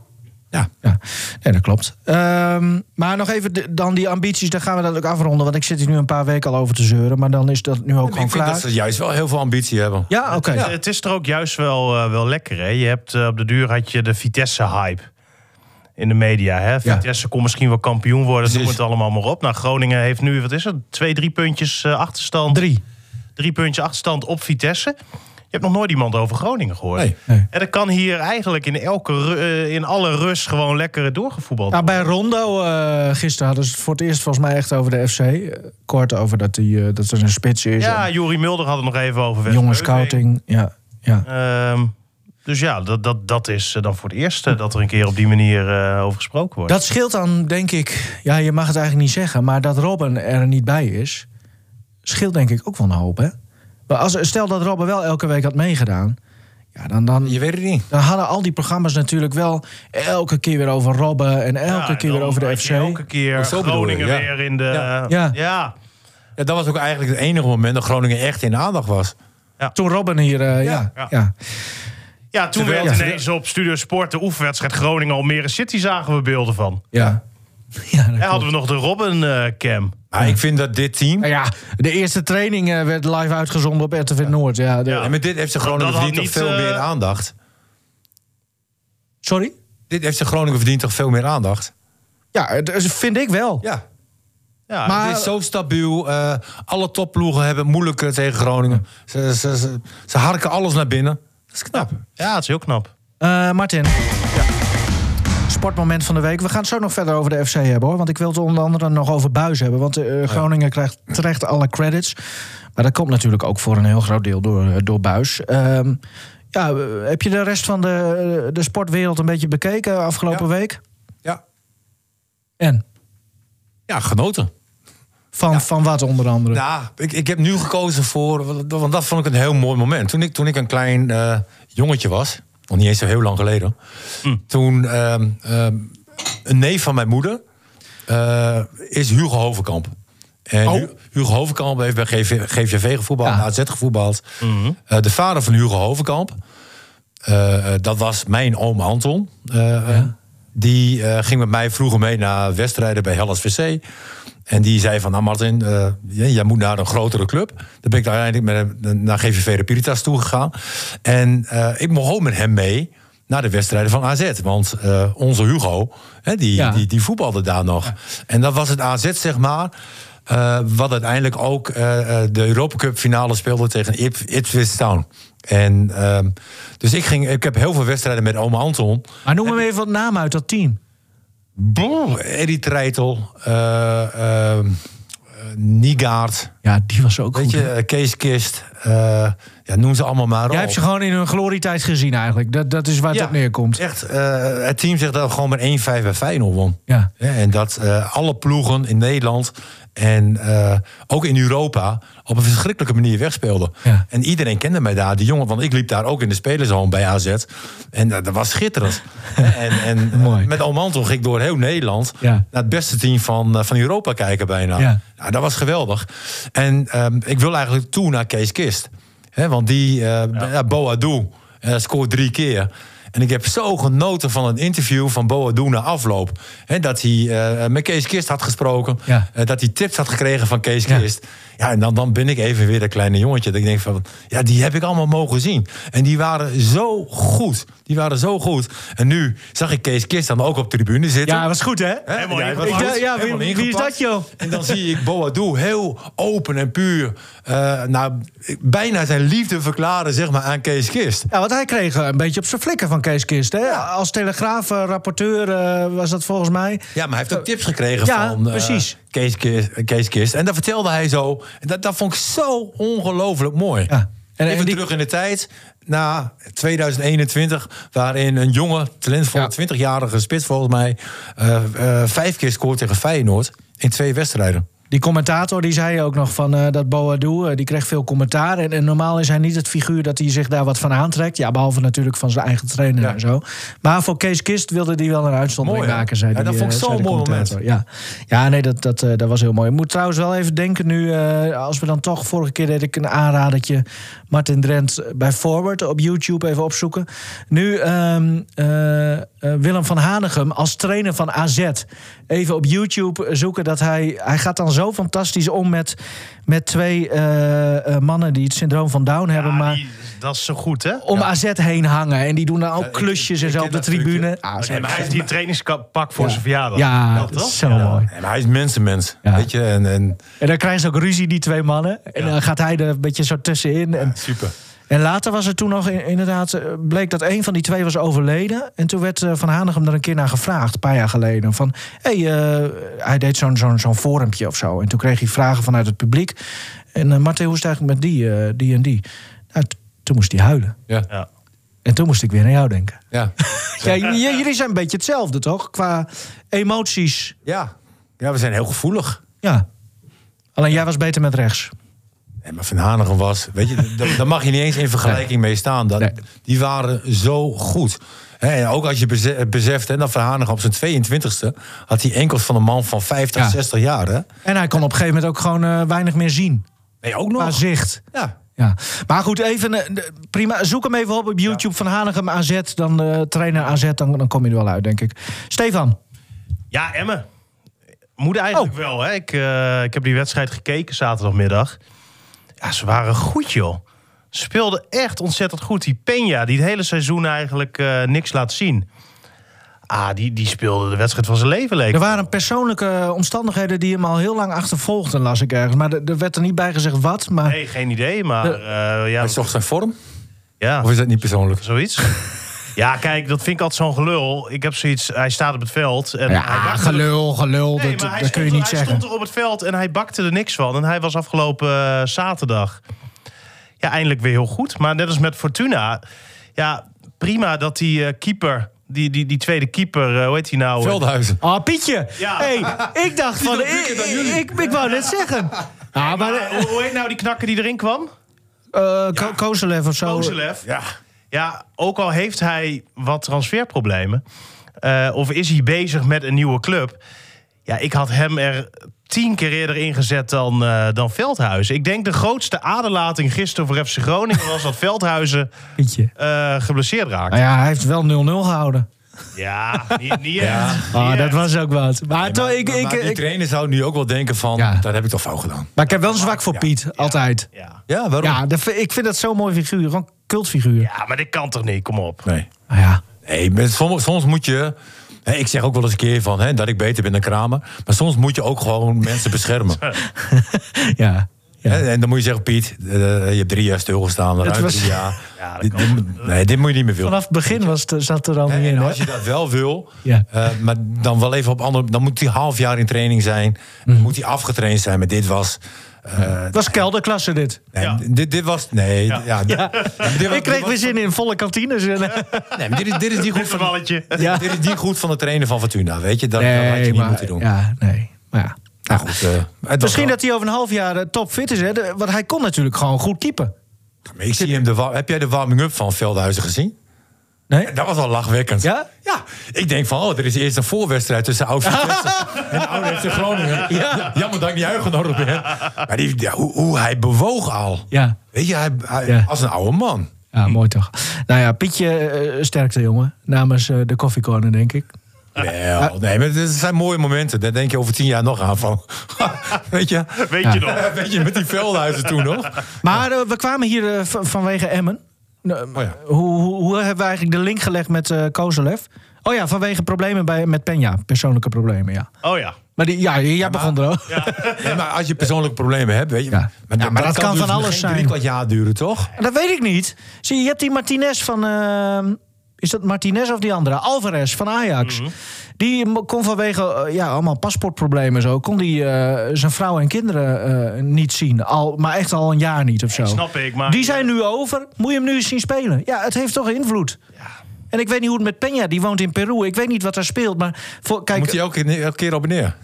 D: Ja.
C: Ja, nee, dat klopt. Ehm, maar nog even de- dan die ambities, daar gaan we dat ook afronden. Want ik zit hier nu een paar weken al over te zeuren. Maar dan is dat nu ook
D: Ik
C: gewoon
D: vind
C: klaar.
D: dat ze juist wel heel veel ambitie hebben.
C: Ja, oké.
A: Het, eh, het is er ook juist wel, eh, wel lekker. Hè? Je hebt, eh, op de duur had je de Vitesse-hype in de media. Hè? Vitesse kon misschien wel kampioen worden, noem
D: Precies.
A: het allemaal maar op. Nou, Groningen heeft nu, wat is het, twee, drie puntjes eh, achterstand.
C: Drie.
A: Drie puntjes achterstand op Vitesse. Je hebt nog nooit iemand over Groningen gehoord.
D: Nee.
C: Nee.
A: En dat kan hier eigenlijk in, elke, ru- eh, in alle rust gewoon lekker doorgevoetbald
C: Nou, bij Rondo eh, gisteren hadden ze het voor het eerst volgens mij echt over de FC. Eh, Kort over dat, die, eh, dat er een spits is.
A: Ja,
C: en
A: Jurie Mulder had het nog even over. Wes
C: jonge
A: Beuving.
C: scouting. Ja, ja.
A: Ehm, dus ja, dat, dat, dat is eh, dan voor het eerst eh, dat er een keer op die manier eh, over gesproken wordt.
C: Dat scheelt dan, denk ik. Ja, je mag het eigenlijk niet zeggen. Maar dat Robben er niet bij is, scheelt denk ik ook wel een hoop. Hè? Maar als, stel dat Robben wel elke week had meegedaan. Ja, dan, dan,
D: Je weet het niet.
C: Dan hadden al die programma's natuurlijk wel elke keer weer over Robben en elke
A: Ja,
C: keer
A: dan
C: weer over de
A: had
C: FC.
A: je Elke keer
D: Oh, zo bedoel je,
A: Groningen
D: ja.
A: weer in de.
D: Ja.
C: Ja.
A: ja.
D: Ja, dat was ook eigenlijk het enige moment dat Groningen echt in aandacht was.
C: Toen Robben hier, eh, ja.
A: ja.
C: Ja.
A: Ja, toen
D: Terwijl-
A: werd
D: ja.
A: ineens op Studio Sport de oefenwedstrijd Groningen Almere City zagen we beelden van.
C: Ja. Ja, dat
A: En
C: klopt.
A: hadden we nog de Robin eh, Cam.
D: Maar ik vind dat dit team...
C: Nou ja, de eerste training eh, werd live uitgezonden op RTV Noord. Ja, de-
A: Ja.
D: En met dit heeft ze
A: Dat-
D: Groningen
A: dat had
D: verdiend toch
A: niet,
D: veel
A: eh,
D: meer aandacht.
C: Sorry?
D: Dit heeft ze Groningen verdiend toch veel meer aandacht.
C: Ja, het- het vind ik wel.
D: Ja.
A: Ja,
C: Maar-
D: het is zo stabiel. eh, alle topploegen hebben het moeilijk eh, tegen Groningen. Ze, ze, ze, ze harken alles naar binnen. Dat is knap.
A: ja, het is heel knap.
C: Eh, Martin. Sportmoment van de week. We gaan het zo nog verder over de FC hebben hoor. Want ik wil het onder andere nog over Buis hebben. Want eh, Groningen krijgt terecht alle credits. Maar dat komt natuurlijk ook voor een heel groot deel door, eh, door Buis. Ehm, ja, eh, heb je de rest van de, de sportwereld een beetje bekeken afgelopen week?
D: Ja,
C: En?
D: ja genoten.
C: Van, van wat onder andere?
D: Nou, ik, ik heb nu gekozen voor, want dat vond ik een heel mooi moment. Toen ik, toen ik een klein eh, jongetje was, nog niet eens zo heel lang geleden, toen ehm, ehm, een neef van mijn moeder eh, is Hugo Hovenkamp. En Hu- Hugo Hovenkamp heeft bij GV, GVV gevoetbald,
C: Ja.
D: AZ gevoetbald. Eh, de vader van Hugo Hovenkamp, eh, eh, dat was mijn oom Anton. eh, eh, Die eh, ging met mij vroeger mee naar wedstrijden bij Hellas VC. En die zei van, nou Martin, eh, jij jij moet naar een grotere club. Daar ben eh, ik uiteindelijk met, hem naar GVV de Piritas toegegaan. En eh, ik mocht ook met hem mee naar de wedstrijden van AZ. Want eh, onze Hugo, hè, die,
F: Ja.
D: die, die voetbalde daar nog. En dat was het AZ, zeg maar. eh, wat uiteindelijk ook eh, eh, de Europa Cup finale speelde tegen Ip- Ipswich Town. En, ehm, dus ik, ging, ik heb heel veel wedstrijden met oma Anton.
C: Maar noem hem even wat naam uit dat team.
D: Boe, Eddie Treitel, eh, ehm, eh, Niegaard,
F: Ja, die was ook
D: weet
F: goed.
D: je,
F: hè?
D: eh, Kees Kist. eh, ja, noem ze allemaal maar op.
C: Jij hebt ze gewoon in hun glorietijd gezien eigenlijk. Dat, dat is waar het
D: Ja,
C: op neerkomt.
D: Echt, eh, het team zegt dat het gewoon met 1-5 bij Feyenoord won.
C: Ja.
D: En dat eh, alle ploegen in Nederland en eh, ook in Europa op een verschrikkelijke manier wegspeelden.
C: Ja.
D: En iedereen kende mij daar, die jongen, want ik liep daar ook in de spelershome bij AZ. En eh, dat, dat was schitterend. en en eh,
C: Mooi.
D: met Omantel ging ik door heel Nederland
C: Ja.
D: naar het beste team van, eh, van Europa kijken bijna.
C: Ja.
D: Nou, dat was geweldig. En ehm, ik wil eigenlijk toe naar Kees Kist. hè, want die eh ja, Boadu eh, scoort drie keer. En ik heb zo genoten van een interview van Boadu na afloop. hè, dat hij eh, met Kees Kist had gesproken.
C: Ja.
D: eh, dat hij tips had gekregen van Kees
C: Ja.
D: Kist. Ja, en dan, dan ben ik even weer dat kleine jongetje. Dat ik denk van, ja, die heb ik allemaal mogen zien. En die waren zo goed. Die waren zo goed. En nu zag ik Kees Kist dan ook op de tribune zitten.
C: Ja, was goed hè?
D: Hè?
A: Helemaal
D: Ja,
A: ingepakt.
D: wat
C: Ik
D: goed.
C: dacht, ja, wie-
D: Helemaal
C: wie is
D: ingepakt.
C: dat, joh?
D: En dan zie ik Boadou heel open en puur... eh, nou, bijna zijn liefde verklaren zeg maar, aan Kees Kist.
C: Ja, want hij kreeg eh, een beetje op zijn flikken van Kees Kist. Hè? Als telegraaf, eh, rapporteur eh, was dat volgens mij.
D: Ja, maar hij heeft ook tips gekregen
C: Ja,
D: van eh,
C: precies.
D: Kees, Kist, Kees Kist. En dat vertelde hij zo. En dat, dat vond ik zo ongelooflijk mooi.
C: Ja. En-
D: En,
C: en
D: Even
C: die-
D: terug in de tijd, na 2021... waarin een jonge, talentvolle
F: Ja.
D: 20-jarige spits volgens mij... eh, eh, vijf keer scoort tegen Feyenoord in twee wedstrijden.
C: Die commentator die zei ook nog van eh, dat Boadou, eh, die kreeg veel commentaar. En, en normaal is hij niet het figuur dat hij zich daar wat van aantrekt. Ja, behalve natuurlijk van zijn eigen trainer
D: Ja.
C: en zo. Maar voor Kees Kist wilde die wel een uitzondering
D: Mooi, hè?
C: maken, zei
D: Ja,
C: die,
D: dat vond ik
C: eh,
D: zo'n
C: zei de
D: mooi
C: commentator. Ja, ja nee, dat, dat, eh, dat was heel mooi. Ik moet trouwens wel even denken nu, eh, als we dan toch... Vorige keer deed ik een aanradertje Martin Drent bij Forward op YouTube even opzoeken. Nu ehm, eh, eh, Willem van Hanegem als trainer van AZ. Even op YouTube zoeken dat hij... Hij gaat dan zo fantastisch om met, met twee eh, eh, mannen die het syndroom van Down hebben.
A: Ja,
C: maar
A: die- dat is zo goed, hè?
C: om AZ heen hangen. En die doen dan ook
D: ik-
C: klusjes
D: ik
C: en zo
D: ken
C: op de
D: dat trucje.
C: tribune.
D: Ah,
C: Ah,
A: Nee, maar hij heeft die trainingspak voor zijn verjaardag.
C: ja,
A: Dat
C: dat
A: toch?
C: is zo
A: Ja.
C: mooi.
D: Nee, maar hij is mensenmens,
C: Ja.
D: weet je. En, en
C: En dan krijgen ze ook ruzie, die twee mannen. En dan gaat hij er een beetje zo tussenin. En,
D: super.
C: en later was er toen nog in- inderdaad... eh, bleek dat een van die twee was overleden. En toen werd eh, Van Hanegem er een keer naar gevraagd, een paar jaar geleden. Van, hey, eh, hij deed zo'n zo'n zo'n forumpje of zo. En toen kreeg hij vragen vanuit het publiek. En eh Martin, hoe is het eigenlijk met die, eh, die en die? Nou, t- toen moest hij huilen.
D: Ja,
A: Ja.
C: En toen moest ik weer aan jou denken.
D: ja.
C: Ja, j- jullie zijn een beetje hetzelfde, toch? Qua emoties.
D: ja. ja we zijn heel gevoelig.
C: Ja. Alleen jij was beter met rechts.
D: Nee, maar Van Hanegem was, weet je, d- daar mag je niet eens in vergelijking mee staan. Dat,
F: Nee.
D: Die waren zo goed. Hè, en ook als je beze- beseft hè, dat Van Hanegem op zijn 22e... had hij enkels van een man van 50,
F: Ja.
D: 60 jaar. Hè?
C: En hij kon op een gegeven moment ook gewoon eh, weinig meer zien.
D: Nee, ook
C: Qua
D: nog.
C: zicht.
D: Ja.
C: Ja. Maar goed, even, eh, de- prima. zoek hem even op op YouTube van Hanegem AZ. Dan eh, trainer AZ, dan, dan kom je er wel uit, denk ik. Stefan,
A: Ja, Emmen. Moet eigenlijk
C: Oh.
A: wel, hè? Ik, eh, ik heb die wedstrijd gekeken zaterdagmiddag. Ja, ze waren goed, joh. Ze speelden echt ontzettend goed. Die Peña, die het hele seizoen eigenlijk eh, niks laat zien. Ah, die, die speelde de wedstrijd van zijn leven leek.
C: er waren persoonlijke omstandigheden die hem al heel lang achtervolgden, las ik ergens. Maar er er werd er niet bij gezegd wat. Maar
A: Nee, geen idee, maar eh, ja,
D: Hij zocht zijn vorm?
A: ja,
D: Of is dat niet persoonlijk?
A: zoiets. ja, kijk, dat vind ik altijd zo'n gelul. Ik heb zoiets, hij staat op het veld. En hij
C: ja,
A: wacht er-
C: gelul, gelul,
A: Nee,
C: dat,
A: maar hij
C: dat kun je
A: stond-
C: niet
A: hij
C: zeggen.
A: stond er op het veld en hij bakte er niks van. En hij was afgelopen eh, zaterdag ja, eindelijk weer heel goed. Maar net als met Fortuna, ja, prima dat die eh, keeper, die, die, die tweede keeper, eh, hoe heet hij nou? eh,
D: Veldhuizen.
C: Ah, Pietje.
A: Ja.
C: Hey, ik dacht van...
D: doet
C: Ik,
D: leuker dan jullie.
C: ik, ik wou net zeggen. Ja, maar...
A: maar, eh, hoe- hoe heet nou die knakker die erin kwam?
C: eh, Ko- Kozelev of zo.
A: Kozelev.
D: Ja.
A: Ja, ook al heeft hij wat transferproblemen, eh, of is hij bezig met een nieuwe club. Ja, ik had hem er tien keer eerder ingezet dan, eh, dan Veldhuizen. Ik denk de grootste aderlating gisteren voor FC Groningen was dat Veldhuizen
C: Pietje.
A: eh, geblesseerd raakte.
C: Nou ja, hij heeft wel 0-0 gehouden.
A: Ja, niet, niet
D: Ja.
A: echt. Niet
C: Ah, dat
A: echt.
C: was ook wat. Maar, toch, ik,
D: Maar-
C: ik,
D: maar die
C: ik,
D: trainer zou nu ook wel denken van,
C: Ja.
D: dat heb ik toch fout gedaan.
C: maar ik heb wel een zwak voor Piet, altijd.
A: Ja.
D: Ja, waarom?
C: Ja, dat, vind- ik vind dat zo'n mooi figuur. Gewoon cultfiguur.
A: ja, maar dit kan toch niet? Kom op.
D: Nee.
C: Nou Ja.
D: Nee, maar soms, soms moet je. Hè, ik zeg ook wel eens een keer van, hè, dat ik beter ben dan Kramer. Maar soms moet je ook gewoon mensen beschermen.
C: Ja. ja.
D: Hè, en dan moet je zeggen, Piet, eh, je hebt drie jaar stilgestaan. Ruim
C: was-
D: drie jaar.
A: Ja, dat
D: Dit- dit moet- nee, dit moet je niet meer willen.
C: Vanaf het begin was het, zat er al niet
D: Hè,
C: in.
D: en
C: hè?
D: als je dat wel wil,
C: Ja.
D: eh, maar dan wel even op andere. Dan moet hij half jaar in training zijn.
C: Mhm.
D: Moet hij afgetraind zijn. Maar dit was. eh,
C: Het was kelderklasse dit.
D: nee,
A: Ja.
D: dit, dit was. Nee. Ja.
C: Ja.
D: dit was-
C: Ik kreeg
D: dit
C: weer
D: was-
C: zin in volle kantines. En, eh,
D: Nee, maar dit, is, dit is niet goed
A: Een
D: van.
A: balletje.
C: ja.
D: Dit is niet goed van de trainer van Fortuna, weet je? Dat, dat had je niet moeten doen.
C: Ja, nee. Maar ja.
D: Nou goed, eh, het was
C: Misschien
D: wel-
C: dat hij over een half jaar eh, topfit is. Hè? De- want hij kon natuurlijk gewoon goed keepen.
D: Maar ik zie hem de, wa- heb jij de warming-up van Veldhuizen gezien?
C: Nee?
D: Dat was wel lachwekkend.
C: Ja?
D: Ja. Ik denk van, oh, er is eerst een voorwedstrijd tussen oud en oud FC Groningen.
C: Ja.
D: Jammer dat ik niet uitgenodigd ben. Maar die, ja, hoe, hoe hij bewoog al.
C: Ja.
D: Weet je, hij, hij-
C: Ja.
D: als een oude man.
C: Ja, mooi toch. Nou ja, Pietje, eh, sterkte jongen. Namens eh, de koffiecorner, denk ik.
D: Wel, nee, maar het zijn mooie momenten. Daar denk je over tien jaar nog aan van. weet je?
A: Weet
C: Ja.
A: je nog?
D: Weet je, met die Veldhuizen toen nog.
C: Maar eh, we kwamen hier eh, v- vanwege Emmen. Eh,
D: Oh ja.
C: Hoe, hoe, hoe hebben we eigenlijk de link gelegd met eh Kozelev? Oh ja, vanwege problemen bij, met Penja. Persoonlijke problemen, ja.
A: Oh ja.
C: Maar die, ja, jij begon er ook.
D: Ja, maar als je persoonlijke problemen hebt, weet je.
C: Ja. Ja, maar dat kan
D: dus
C: van alles
D: geen
C: zijn.
D: drie kwart jaar duren, toch?
C: Dat weet ik niet. Zie je, je hebt die Martinez van... ehm, is dat Martinez of die andere? Alvarez van Ajax. Die mo- kon vanwege eh, ja, allemaal paspoortproblemen en zo... kon die eh, zijn vrouw en kinderen eh, niet zien. Al, maar echt al een jaar niet of zo.
A: Snap ik, maar...
C: Die zijn nu over. Moet je hem nu eens zien spelen? Ja, het heeft toch invloed. En ik weet niet hoe het met Peña, die woont in Peru. Ik weet niet wat daar speelt. Maar voor, kijk,
D: Moet hij elke, keer- elke keer op en neer?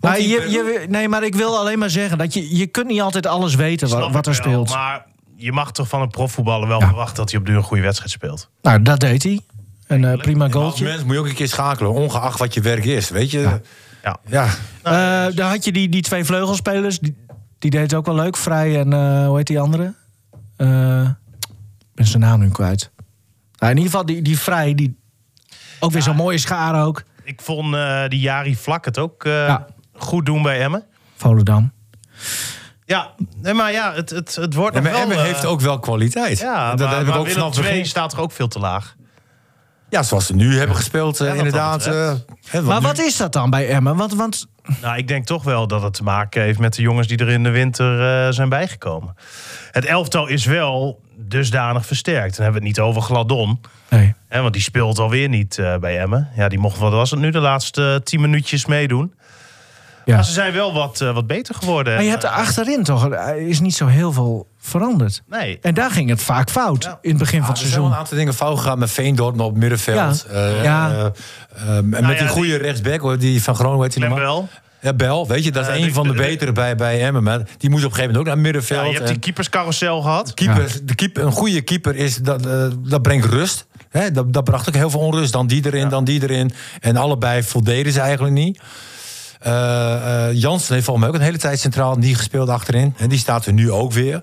C: maar
D: in
C: je,
D: Peru?
C: je, nee, maar ik wil alleen maar zeggen dat je, je kunt niet altijd alles weten wa-
A: Snap
C: wat
A: ik
C: er
A: wel,
C: speelt.
A: Maar je mag toch van een profvoetballer wel verwachten dat hij op de duur een goede wedstrijd speelt.
C: Nou, dat deed hij. Een eh, prima
D: Als
C: goaltje.
D: mens moet je ook een keer schakelen, ongeacht wat je werk is, weet je? Ja.
A: Ja.
C: Eh, daar had je die, die twee vleugelspelers. Die, die deed het ook wel leuk. Vrij en eh, hoe heet die andere? Eh, ik ben zijn naam nu kwijt. Nou, in ieder geval die, die Vrij. Die, ook weer zo'n mooie schaar ook.
A: Ik vond eh, die Jari Vlak het ook eh,
C: Ja.
A: goed doen bij Emmen.
C: Volendam.
A: Ja, nee, maar ja, het, het, het wordt
D: Ja,
A: nog
D: maar
A: wel...
D: Emmen
A: eh,
D: heeft ook wel kwaliteit.
A: Ja,
D: dat
A: maar,
D: heb ik
A: maar
D: ook
A: Willem
D: vanaf het
A: II
D: begin.
A: staat toch ook veel te laag.
D: Ja, zoals ze nu hebben gespeeld, eh,
A: Ja, wat dat
D: inderdaad. eh,
A: betreft.
D: hè, want
C: Maar
D: nu-
C: wat is dat dan bij Emmen? Want, want
A: Nou, ik denk toch wel dat het te maken heeft met de jongens die er in de winter eh, zijn bijgekomen. Het elftal is wel dusdanig versterkt. Dan hebben we het niet over Gladon.
C: nee.
A: Hè, want die speelt alweer niet eh, bij Emmen. Ja, die mocht, wat was het nu, de laatste eh, tien minuutjes meedoen.
C: Ja.
A: Maar ze zijn wel wat, eh, wat beter geworden. Eh,
C: Maar je hebt er achterin toch, er is niet zo heel veel veranderd.
A: Nee.
C: En daar ging het vaak fout in het begin
D: Ah,
C: van het
D: er zijn wel
C: seizoen.
D: een aantal dingen fout gegaan met Veendorp op middenveld.
C: Ja.
D: Eh,
C: Ja.
D: eh, eh, en met
A: Nou ja,
D: die goede
A: die-
D: rechtsback, hoor, die van Groningen, weet je
A: Clem
D: nog maar?
A: wel.
D: Ja, Bel, weet je, dat is
A: Eh,
D: een
A: de-
D: van de
A: de- de-
D: betere bij, bij Emmen. Maar die moest op een gegeven moment ook naar
A: Ja,
D: middenveld.
A: je hebt die
D: en-
A: keeperscarousel gehad.
D: Keepers, de keep, een goede keeper is, dat, eh, dat brengt rust. Hè, dat, dat bracht ook heel veel onrust. Dan die erin, dan die erin. En allebei voldeden ze eigenlijk niet. Eh, eh, Jansen heeft volgens mij ook een hele tijd centraal niet gespeeld achterin. En die staat er nu ook weer.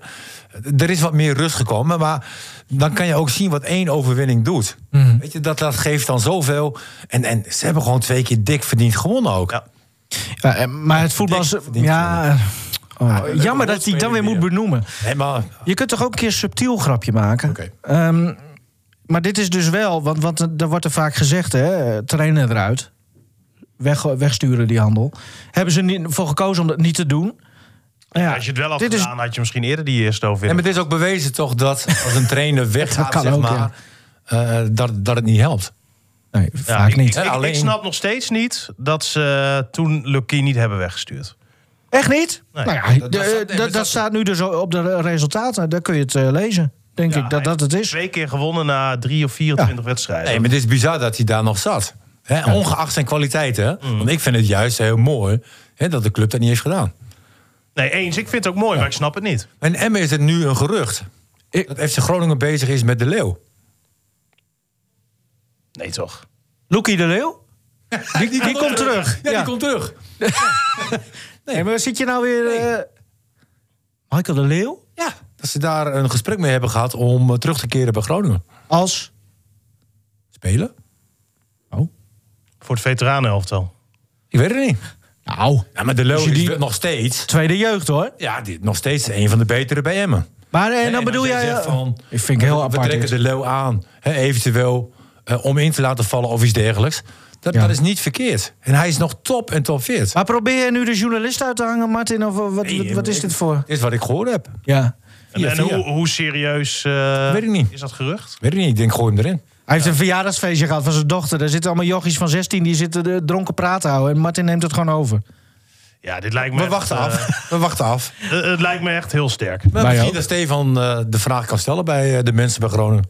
D: Er is wat meer rust gekomen. Maar dan kan je ook zien wat één overwinning doet. Weet je, dat, dat geeft dan zoveel. En, en ze hebben gewoon twee keer dik verdiend gewonnen ook.
A: Ja.
C: Ja, en- maar het voetbal is...
D: Dik verdient
C: Ja, oh,
D: dat-
C: jammer dat hij het dan weer moet benoemen.
D: Nee, maar
C: Je kunt toch ook een keer subtiel grapje maken?
D: Oké.
C: Ehm, maar dit is dus wel, want, want er wordt er vaak gezegd, hè, eh, trainen eruit. Weg, wegsturen die handel. Hebben ze niet, voor gekozen om dat niet te doen? Nou ja,
A: Als je het wel had
C: dit is-
A: gedaan, had je misschien eerder die eh, eerste
D: En
A: overwinning.
D: het is ook bewezen toch dat als een trainer weggaat,
C: kan
D: zeg
C: ook,
D: maar,
C: ja.
D: eh, dat, dat het niet helpt.
C: Nee,
A: Ja,
C: vaak
A: ik,
C: niet.
A: Ik, ik,
D: Alleen-
A: ik snap nog steeds niet dat ze eh, toen Lucky niet hebben weggestuurd.
C: Echt niet?
A: Nee.
C: Nou ja,
D: Dat- dat
C: de-
D: staat- nee,
C: dat,
D: maar
C: dat
D: dat-
C: staat nu dus op de resultaten. Daar kun je het eh, lezen, denk
A: Ja,
C: ik, dat
A: hij
C: dat het
A: heeft
C: is.
A: Twee keer gewonnen na drie of 24 wedstrijden.
D: Nee, maar het is bizar dat hij daar nog zat. Hè, Ongeacht zijn kwaliteiten.
C: Mm.
D: Want ik vind het juist heel mooi hè, dat de club dat niet heeft gedaan.
A: Nee, eens. Ik vind het ook mooi, maar ik snap het niet.
D: En Emmen is het nu een gerucht.
C: Ik-
D: Dat FC Groningen bezig is met de Leeuw.
A: Nee, toch?
C: Loekie de Leeuw?
D: Die,
C: die komt terug.
D: Ja,
C: Ja.
D: die komt terug.
C: Nee, maar zit je nou weer... eh, Michael de Leeuw?
D: Ja, dat ze daar een gesprek mee hebben gehad om eh, terug te keren bij Groningen.
C: Als?
D: Spelen?
A: Voor het veteranenelftal.
D: Ik weet het niet.
C: Nou,
D: Ja, maar de Leeuw
C: Als je
D: is
C: die-
D: wel nog steeds...
C: tweede jeugd hoor.
D: Ja, die, nog steeds een van de betere bij Emmen.
C: Maar eh,
D: En
C: dan bedoel
D: als
C: jij...
D: zegt
C: eh,
D: van,
C: ik vind het heel
D: we
C: apart.
D: trekken
C: dit.
D: de leeuw aan. Hè, eventueel eh, om in te laten vallen of iets dergelijks. Dat,
C: Ja.
D: dat is niet verkeerd. En hij is nog top en top fit.
C: Maar probeer je nu de journalist uit te hangen, Martin? Of eh, wat,
D: Nee,
C: wat, wat is
D: ik-
C: dit voor?
D: Dit is wat ik gehoord heb.
C: Ja.
A: En,
D: Via,
A: en
D: via.
A: hoe, hoe serieus eh,
D: Weet ik niet.
A: is dat gerucht?
D: Weet ik niet, ik denk gooi hem erin.
C: Hij heeft een verjaardagsfeestje gehad van zijn dochter. Daar zitten allemaal jochies van 16 die zitten eh, dronken praten houden. En Martin neemt het gewoon over.
A: Ja, dit lijkt me
D: We
A: echt,
D: wachten
A: eh,
D: af. We wachten af.
A: het- het lijkt me echt heel sterk.
D: Maar
C: Wij
D: misschien
C: ook.
D: dat Stefan eh, de vraag kan stellen bij eh, de mensen bij Groningen.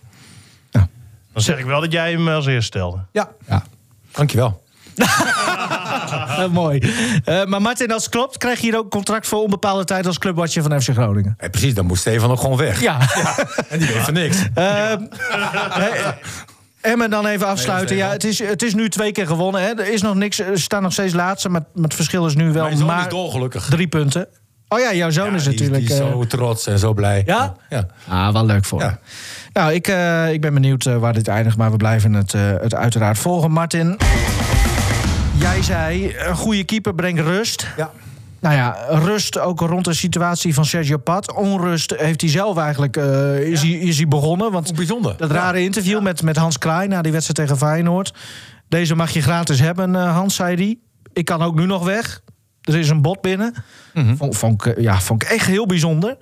A: Dan zeg ik wel dat jij hem als eerste stelde.
D: Ja. ja. Dankjewel. Ah.
C: Eh, mooi. Eh, maar Martin, als het klopt, krijg je hier ook contract voor onbepaalde tijd als clubwatcher van FC Groningen.
D: Eh, precies, dan moet Stefan ook gewoon weg.
C: Ja.
D: En die weet van niks.
C: Ehm, eh, Emmen dan even afsluiten. Ja, het, is, het is nu twee keer gewonnen. Hè. Er is nog niks, er staan nog steeds laatste, maar, maar het verschil is nu wel
D: Mijn zoon
C: maar
D: is dolgelukkig.
C: drie punten. Oh ja, jouw zoon
D: Ja,
C: is
D: die-
C: natuurlijk...
D: Die, is
C: eh,
D: zo trots en zo blij.
C: Ja?
D: ja.
C: Ah, wel leuk voor.
D: Ja.
C: hem. Nou, ik, eh, ik ben benieuwd eh, waar dit eindigt, maar we blijven het, eh, het uiteraard volgen. Martin, jij zei, eh, een goede keeper brengt rust.
D: Ja.
C: Nou ja, rust ook rond de situatie van Sergio Pat. Onrust heeft hij zelf eigenlijk, eh, is, hij, is hij begonnen. Want
D: Hoe bijzonder.
C: dat rare interview met, met Hans Kraai na die wedstrijd tegen Feyenoord. Deze mag je gratis hebben, eh, Hans, zei hij. Ik kan ook nu nog weg. Er is een bod binnen. vond, vond ik, eh, ja, vond ik echt heel bijzonder.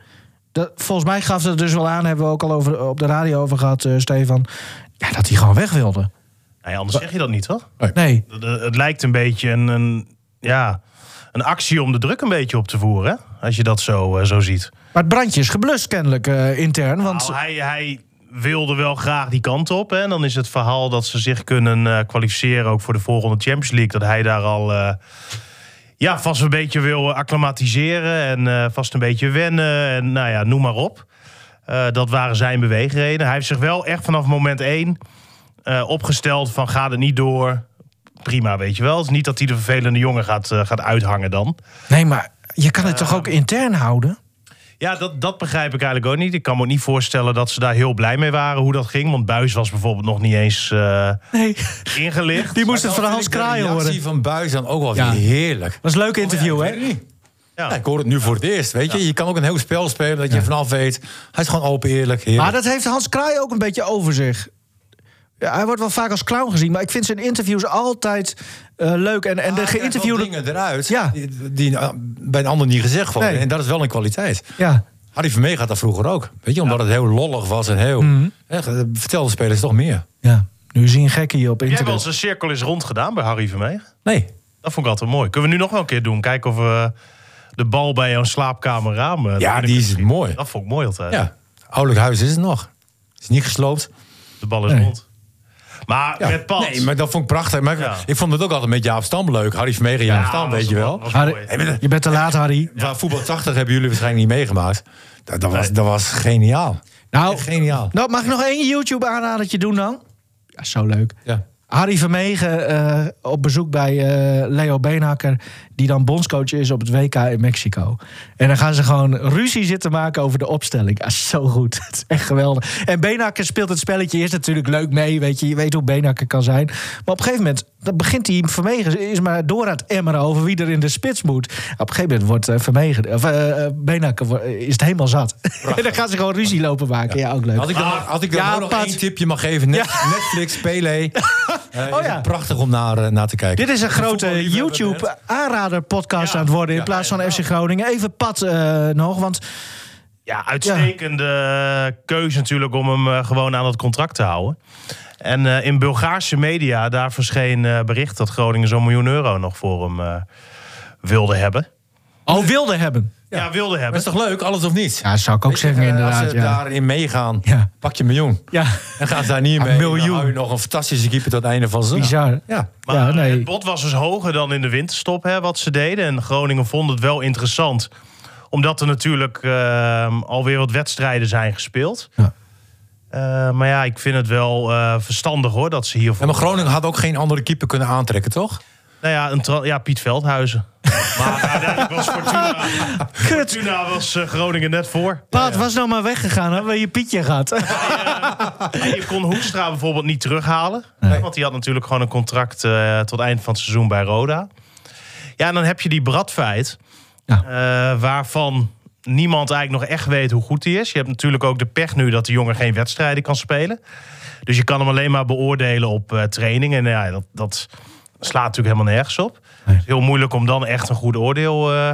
C: Dat, volgens mij gaf het dus wel aan, hebben we ook al over, op de radio over gehad, eh, Stefan. Ja, dat hij gewoon weg wilde.
A: Nee, anders zeg je dat niet, toch?
C: Nee.
A: Het- Het lijkt een beetje een, een, ja, een actie om de druk een beetje op te voeren. hè? Als je dat zo, eh, zo ziet.
C: Maar het brandje is geblust kennelijk eh, intern. Want
A: Nou, hij, hij wilde wel graag die kant op. Hè? En dan is het verhaal dat ze zich kunnen eh, kwalificeren... ook voor de volgende Champions League. Dat hij daar al eh, ja, vast een beetje wil acclimatiseren... en eh, vast een beetje wennen en nou ja, noem maar op. Eh, dat waren zijn beweegredenen. Hij heeft zich wel echt vanaf moment één eh, opgesteld van... ga er niet door, prima, weet je wel. Het is niet dat hij de vervelende jongen gaat, eh, gaat uithangen dan.
C: nee, maar je kan het toch ook intern houden?
A: Ja, dat, dat begrijp ik eigenlijk ook niet. Ik kan me ook niet voorstellen dat ze daar heel blij mee waren hoe dat ging. Want Buis was bijvoorbeeld nog niet eens eh,
C: Nee.
A: ingelicht.
C: Die moest het van Hans Kraai
D: De
C: horen.
D: reactie van Buis dan ook wel
C: Ja.
D: weer heerlijk.
C: was een leuk
D: Oh
C: interview, hè?
A: Ja.
D: Ja, ik hoor het nu voor het eerst. Weet je? je kan ook een heel spel spelen dat je vanaf weet. Hij is gewoon open, eerlijk. heerlijk.
C: Maar dat heeft Hans Kraai ook een beetje over zich. Ja, hij wordt wel vaak als clown gezien, maar ik vind zijn interviews altijd eh, leuk. En, en de
D: Ah, hij krijgt wel
C: geïnterviewde...
D: dingen eruit
C: Ja.
D: die, die eh, bij een ander niet gezegd worden.
C: Nee.
D: En dat is wel een kwaliteit.
C: Ja,
D: Harry Vermee gaat dat vroeger ook. Weet je, omdat het heel lollig was en heel...
C: Mhm.
D: Echt, eh, vertel de spelers toch meer.
C: ja. Nu zien gekken hier op
A: Jij hebt wel
C: internet.
A: eens een cirkel is rond gedaan bij Harry Vermeeg.
D: Nee.
A: Dat vond ik altijd mooi. Kunnen we nu nog wel een keer doen? Kijken of we de bal bij jouw slaapkamer raam...
D: Ja,
A: eh, erin
D: die
A: kunnen
D: is
A: schieten.
D: mooi.
A: Dat vond ik mooi altijd.
D: Ja. Ouderlijk huis is het nog. Het is niet gesloopt.
A: De bal is
C: Nee.
A: rond. Maar
D: Ja.
A: met Pat.
D: Nee, maar dat vond ik prachtig. Maar ik-
A: Ja.
D: ik vond het ook altijd met Jaap Stam leuk. Harry Vermeer en Jaap
A: Ja,
D: Stam,
A: was-
D: weet je wel.
A: was mooi.
C: Harry- je bent te laat, Harry.
D: Waar voetbal 80 hebben jullie waarschijnlijk niet meegemaakt. Dat, dat, was, dat was geniaal.
C: Nou,
D: Geniaal.
C: nou, mag ik nog één YouTube-aanradertje doen dan? Ja, zo leuk.
D: Ja.
C: Harry Vermegen eh, op bezoek bij eh, Leo Beenhakker... die dan bondscoach is op het WK in Mexico. En dan gaan ze gewoon ruzie zitten maken over de opstelling. Ah, zo goed. Het is echt geweldig. En Beenhakker speelt het spelletje. Is natuurlijk leuk mee, weet je. Je weet hoe Beenhakker kan zijn. Maar op een gegeven moment dan begint hij Vermegen... is maar door aan het emmeren over wie er in de spits moet. Op een gegeven moment wordt eh, Vermegen... of eh, eh, Beenhakker wo- is het helemaal zat. en dan gaan ze gewoon ruzie lopen maken. Ja, ook leuk.
D: Had ik dan, had ik dan
C: ja,
D: ook nog
C: Pat.
D: één tipje mag geven. Net- Netflix, Pele. Eh, is
C: Oh ja.
D: het Prachtig om naar, eh, naar te kijken.
C: Dit is een grote
D: voetballiefhebber bent.
C: YouTube-aanrader-podcast aan het worden... in plaats van FC Groningen. Even pad eh, nog, want
A: Ja, uitstekende keuze natuurlijk om hem eh, gewoon aan dat contract te houden. En eh, in Bulgaarse media, daar verscheen eh, bericht dat Groningen zo'n miljoen euro nog voor hem eh, wilde hebben.
D: Oh.
C: al wilde hebben.
A: Ja, wilde
D: Maar
A: hebben.
D: is toch leuk, alles of niets?
C: Ja, zou ik ook zeggen,
D: Eh,
C: inderdaad.
D: Als ze
C: Ja.
D: daarin meegaan,
C: Ja.
D: pak je een miljoen.
C: Ja.
D: En gaan ze daar niet
C: Een
D: mee.
C: miljoen.
D: Dan hou je nog een fantastische keeper tot het einde van zijn.
C: Bizar.
D: Ja.
A: Maar
C: Ja,
A: eh,
C: nee.
A: het bod was dus hoger dan in de winterstop hè, wat ze deden. En Groningen vond het wel interessant. Omdat er natuurlijk eh, alweer wat wedstrijden zijn gespeeld.
C: Ja.
A: Eh, maar ja, ik vind het wel eh, verstandig hoor dat ze hiervoor...
D: Ja, maar Groningen had ook geen andere keeper kunnen aantrekken, toch?
A: Nou ja, een tra- ja, Piet Veldhuizen. maar uiteindelijk was Fortuna, Fortuna was eh, Groningen net voor.
C: Paat was nou maar weggegaan, hadden we je Pietje gehad.
A: En je kon Hoekstra bijvoorbeeld niet terughalen. hè, Want die had natuurlijk gewoon een contract eh, tot eind van het seizoen bij Roda. Ja, en dan heb je die Bradfeit.
C: Ja.
A: eh, waarvan niemand eigenlijk nog echt weet hoe goed hij is. Je hebt natuurlijk ook de pech nu dat de jongen geen wedstrijden kan spelen. Dus je kan hem alleen maar beoordelen op eh, training. En ja, dat, dat slaat natuurlijk helemaal nergens op. Het is heel moeilijk om dan echt een goed oordeel eh,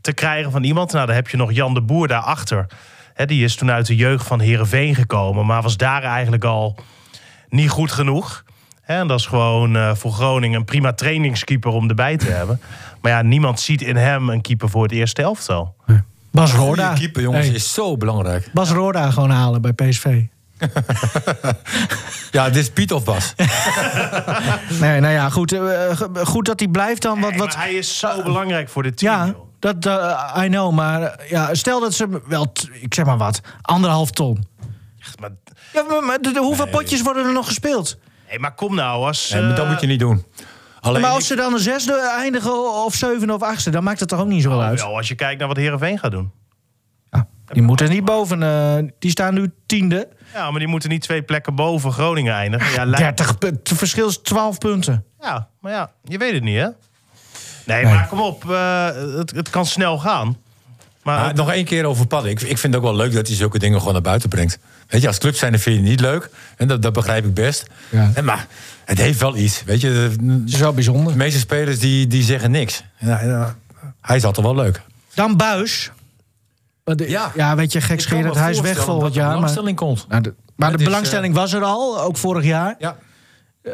A: te krijgen van iemand. Nou, dan heb je nog Jan de Boer daarachter. Hè, die is toen uit de jeugd van Herenveen gekomen, maar was daar eigenlijk al niet goed genoeg. Hè, en dat is gewoon eh, voor Groningen een prima trainingskeeper om erbij te hebben. Maar ja, niemand ziet in hem een keeper voor het eerste elftal.
C: Bas
D: Goede
C: Roda.
D: keeper, jongens,
C: Hey,
D: is zo belangrijk.
C: Bas Roda gewoon halen bij PSV.
D: Ja, dit is Piet of Bas.
C: Nee, nou ja, goed. eh, ge- goed dat hij blijft dan. Wat,
A: Nee,
C: wat,
A: maar hij is zo
D: Ah,
A: belangrijk voor dit team.
C: ja,
A: joh.
C: dat, eh, I know. Maar eh, ja, stel dat ze wel, t- ik zeg maar wat, anderhalf ton.
A: Maar,
C: Ja, maar, maar de- de- hoeveel potjes worden er nog gespeeld?
A: hey, maar kom nou, als...
D: Nee, maar dat
A: eh,
D: moet je niet doen. Alleen,
C: maar als ze dan een zesde eindigen of zevende of achtste... dan maakt het toch ook niet zo uit?
A: Ah, oh, wel, als je kijkt naar wat Herenveen gaat doen.
C: Ja, die moeten niet boven. eh, die staan nu tiende.
A: Ja, maar die moeten niet twee plekken boven Groningen eindigen. Ja, Leiden-
C: 30 pu- Het verschil is 12 punten.
A: Ja, maar ja, je weet het niet, hè? Nee, maar kom op. eh, het, het kan snel gaan. Maar
D: Ah, nog één keer over Padden. Ik, ik vind het ook wel leuk dat hij zulke dingen gewoon naar buiten brengt. Weet je, als club zijn vind je het niet leuk. En dat, dat begrijp ik best.
C: Ja.
D: En maar het heeft wel iets. Weet je, de,
C: Dat is wel bijzonder.
D: de meeste spelers die, die zeggen niks. En, eh, hij is altijd wel leuk.
C: Dan Buis. Maar de- ja.
D: Ja.
C: weet je, gekscherend. Hij is weg volgend jaar. Maar,
D: belangstelling komt.
C: Nou, de, maar de
D: Het is,
C: belangstelling was er al, ook vorig jaar.
D: Ja.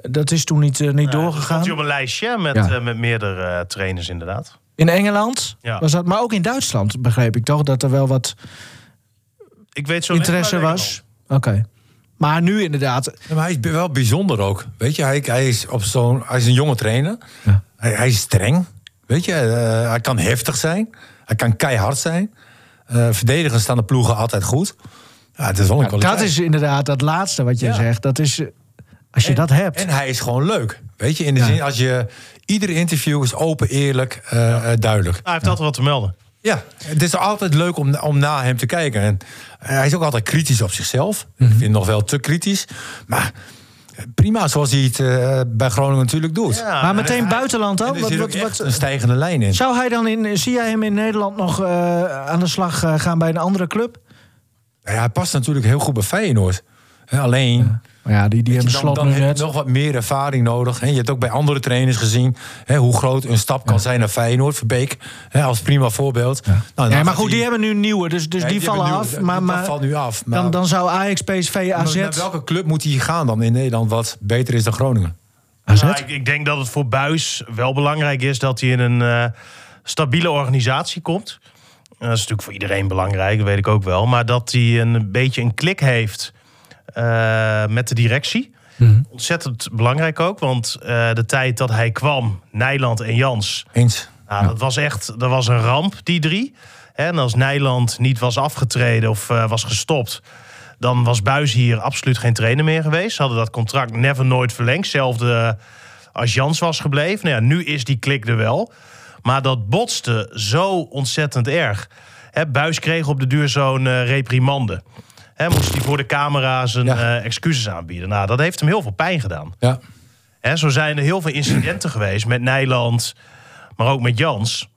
C: Dat is toen niet, eh, niet
A: Had je
C: doorgegaan.
A: op een lijstje met,
C: Ja.
A: eh, met meerdere eh, trainers, inderdaad.
C: In Engeland
A: Ja.
C: was dat, maar ook in Duitsland begreep ik toch... dat er wel wat
A: Ik weet zo
C: interesse
A: net waar ik
C: was. Oké. Maar nu inderdaad,
D: Ja, maar hij is bi- wel bijzonder ook. Weet je, hij, hij, is, op zo'n, hij is een jonge trainer. Hij, hij is streng. Weet je, eh, hij kan heftig zijn. Hij kan keihard zijn. Eh verdedigend staan de ploegen altijd goed. Ja, het is wel een kwaliteit.
C: dat is inderdaad dat laatste wat je
D: Ja.
C: zegt. Dat is, eh, als je
D: En-
C: dat hebt.
D: En hij is gewoon leuk. Weet je, in de zin als je. Ieder interview is open, eerlijk, eh, eh, duidelijk.
A: al. Hij heeft altijd wat te melden.
D: Ja, het is altijd leuk om, om naar hem te kijken. En eh, hij is ook altijd kritisch op zichzelf. Ik
C: Mhm.
D: vind hem nog wel te kritisch. Maar eh, prima, zoals hij het eh, bij Groningen natuurlijk doet.
A: Ja,
C: maar
A: en
C: meteen
A: hij-
C: buitenland
D: En
C: dan?
D: er
C: Wat,
D: zit
C: wat,
D: ook echt
C: wat-
D: een stijgende lijn in.
C: zou hij dan in, zie jij hem in Nederland nog eh, aan de slag eh, gaan bij een andere club?
D: Ja, hij past natuurlijk heel goed bij Feyenoord. Hè, Alleen,
C: Maar ja, die, die hebben
D: dan,
C: slot
D: dan
C: nu
D: heb
C: net.
D: je nog wat meer ervaring nodig. Hè, je hebt ook bij andere trainers gezien hè, hoe groot een stap kan zijn naar Feyenoord. Verbeek hè, als prima voorbeeld. Nou, dan
C: Nee, maar
D: gaat
C: goed, die,
D: hij-
C: hebben nu nieuwe, dus, dus
D: Ja,
C: die,
D: die
C: vallen
D: hebben nieuwe,
C: af.
D: dat-
C: Maar,
D: dat
C: maar
D: valt nu af, maar-
C: dan, dan zou Ajax, PSV, AZ...
D: Naar welke club moet hij gaan dan in Nederland wat beter is dan Groningen?
C: AZ?
A: Nou, ik, ik denk dat het voor Buis wel belangrijk is dat hij in een eh, stabiele organisatie komt. Eh, dat is natuurlijk voor iedereen belangrijk, dat weet ik ook wel. Maar dat hij een beetje een klik heeft eh, met de directie. Ontzettend belangrijk ook, want eh, de tijd dat hij kwam, Nijland en Jans,
D: Eens.
A: nou, dat was echt dat was een ramp, die drie. Hè, En als Nijland niet was afgetreden of eh, was gestopt, dan was Buis hier absoluut geen trainer meer geweest. Ze hadden dat contract never nooit verlengd. Hetzelfde als Jans was gebleven. Nou ja, nu is die klik er wel. Maar dat botste zo ontzettend erg. Hè, Buis kreeg op de duur zo'n eh, reprimande. Hè, moest hij voor de camera zijn
D: Ja.
A: eh, excuses aanbieden. Nou, dat heeft hem heel veel pijn gedaan.
D: Ja.
A: Hè, zo zijn er heel veel incidenten geweest met Nijland, maar ook met Jans.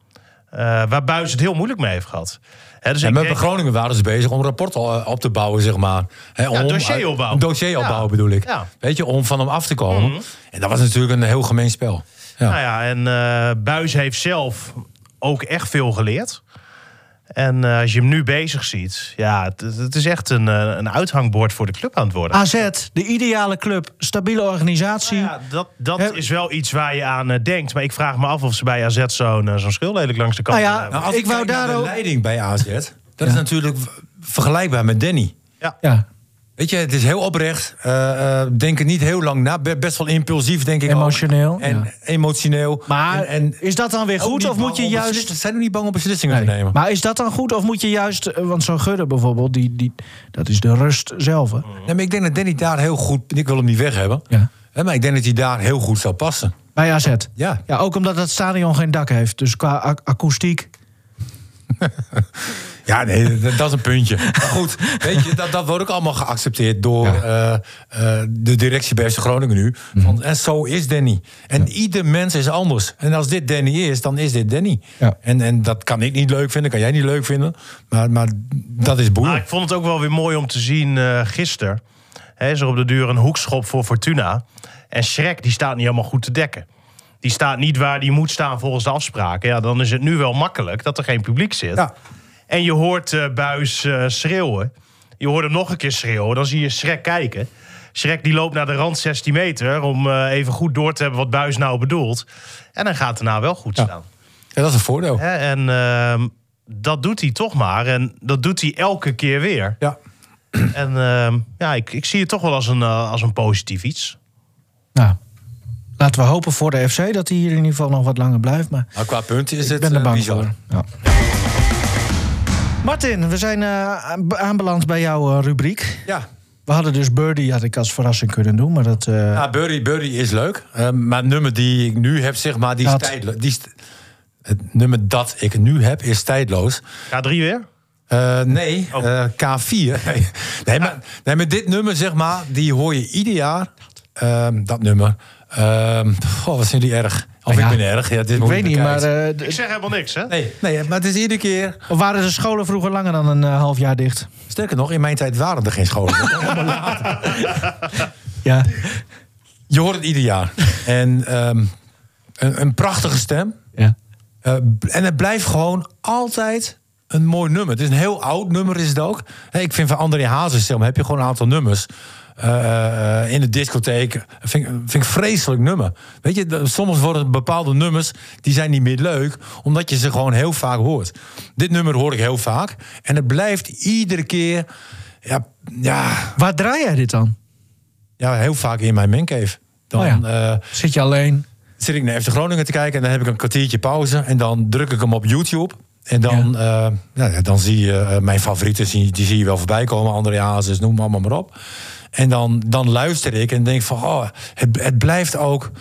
A: eh, waar Buis het heel moeilijk mee heeft gehad. Hè, dus
D: En
A: ik
D: met
A: denk-
D: Groningen waren ze bezig om rapport al- eh, op te bouwen, zeg maar. Hè, om,
A: dossieropbouw.
D: een dossieropbouw
A: Ja.
D: bedoel ik.
A: Ja.
D: Weet je, om van hem af te komen.
C: Mhm.
D: En dat was natuurlijk een heel gemeen spel. Ja.
A: Nou ja, en eh, Buis heeft zelf ook echt veel geleerd. En eh, als je hem nu bezig ziet, ja, het, het is echt een, eh, een uithangbord voor de club aan het worden.
C: AZ, de ideale club, stabiele organisatie.
A: Nou ja, dat dat
C: Hè?
A: is wel iets waar je aan eh, denkt. Maar ik vraag me af of ze bij AZ zo'n eh, zo'n schildlelijk langs de kant
C: Nou ja,
A: hebben.
D: Nou, als
C: Ik
D: ik,
C: wou
D: kijk naar
C: daar ook-
D: de leiding bij AZ, dat is natuurlijk v- vergelijkbaar met Danny.
C: Ja,
D: Weet je, het is heel oprecht. eh eh denken niet heel lang na. Be- Best wel impulsief, denk ik. ook.
C: Emotioneel,
D: En
C: ja.
D: emotioneel.
C: Maar
D: En- en
C: is dat dan weer
D: ook
C: goed
D: niet
C: of moet
D: bang
C: je
D: om
C: juist...
D: beslissingen- Zijn we niet bang om beslissingen te nemen?
C: Maar is dat dan goed of moet je juist... eh, Want zo'n Gudde bijvoorbeeld, die, die, dat is de rust zelf. hè?
D: Nee, maar ik denk dat Danny daar heel goed... Ik wil hem niet weg hebben.
C: Ja.
D: Hè, maar ik denk dat hij daar heel goed zou passen.
C: Bij AZ.
D: Ja.
C: ja. Ook omdat dat stadion geen dak heeft. Dus qua ac- akoestiek.
D: Ja, nee, dat, dat is een puntje. Maar goed, weet je, dat, dat wordt ook allemaal geaccepteerd door eh, eh, de directie bij FC Groningen nu. Want, en zo is Danny. En ieder mens is anders. En als dit Danny is, dan is dit Danny.
C: Ja.
D: En, en dat kan ik niet leuk vinden, kan jij niet leuk vinden. Maar, maar dat is boer.
A: Maar Ah, ik vond het ook wel weer mooi om te zien eh gisteren. Hè, is er op de duur een hoekschop voor Fortuna. En Schrek die staat niet helemaal goed te dekken. Die staat niet waar die moet staan volgens de afspraken. Ja, dan is het nu wel makkelijk dat er geen publiek zit.
D: Ja.
A: En je hoort eh, Buis eh, schreeuwen. Je hoort hem nog een keer schreeuwen. Dan zie je Schrek kijken. Schrek die loopt naar de rand 16 meter om eh, even goed door te hebben wat Buis nou bedoelt. En dan gaat daarna wel goed staan.
D: Ja, dat is een voordeel.
A: Hè, en ehm, dat doet hij toch maar. En dat doet hij elke keer weer.
D: Ja.
A: En ehm, ja, ik, ik zie het toch wel als een, eh, als een positief iets.
C: Nou, laten we hopen voor de FC dat hij hier in ieder geval nog wat langer blijft. Maar
D: Maar qua punten is
C: ik
D: het
C: ben er
D: eh,
C: bang
D: bizar.
C: voor. Ja. Martin, we zijn eh, aan- aanbeland bij jouw eh, rubriek.
D: Ja.
C: We hadden dus Birdie, had ik als verrassing kunnen doen, maar dat... eh,
D: Ja, Burry, Burry is leuk. Eh, maar het nummer die ik nu heb, zeg maar, die is
C: Dat.
D: tijdelijk. Die is- het nummer dat ik nu heb, is tijdloos.
A: K3 weer?
D: Eh, nee,
A: Oh.
D: eh, K4. Nee, nee, maar, nee, maar dit nummer, zeg maar, die hoor je ieder jaar. Ehm, dat nummer. Ehm oh, wat zijn jullie erg. Of
C: Nou ja,
D: ik ben erg. Ja, dit
C: ik weet niet, maar eh,
A: Ik
C: d-
A: zeg helemaal niks, hè?
D: Nee, nee, maar het is iedere keer...
C: waren de scholen vroeger langer dan een eh, half jaar dicht?
D: Sterker nog, in mijn tijd waren er geen scholen.
C: Ja.
D: je hoort het ieder jaar. En ehm, een, een prachtige stem.
C: ja.
D: Eh, b- en het blijft gewoon altijd een mooi nummer. Het is een heel oud nummer, is het ook. Hè, ik vind van André Hazes, zeg maar, heb je gewoon een aantal nummers. eh, eh, in de discotheek. Vind, ik- vind ik een vreselijk nummer. Weet je, de- soms worden bepaalde nummers... die zijn niet meer leuk, omdat je ze gewoon heel vaak hoort. Dit nummer hoor ik heel vaak. En het blijft iedere keer... Ja, ja,
C: Waar draai jij dit dan?
D: ja heel vaak in mijn mancave. Dan,
C: Oh
D: eh,
C: Zit je alleen?
D: zit ik naar FC Groningen te kijken en dan heb ik een kwartiertje pauze en dan druk ik hem op YouTube. En dan, eh, nou ja, dan zie je eh, mijn favorieten, zie, die zie je wel voorbij komen. André Hazes, noem allemaal maar op. En dan, dan luister ik en denk van, oh, het, het blijft ook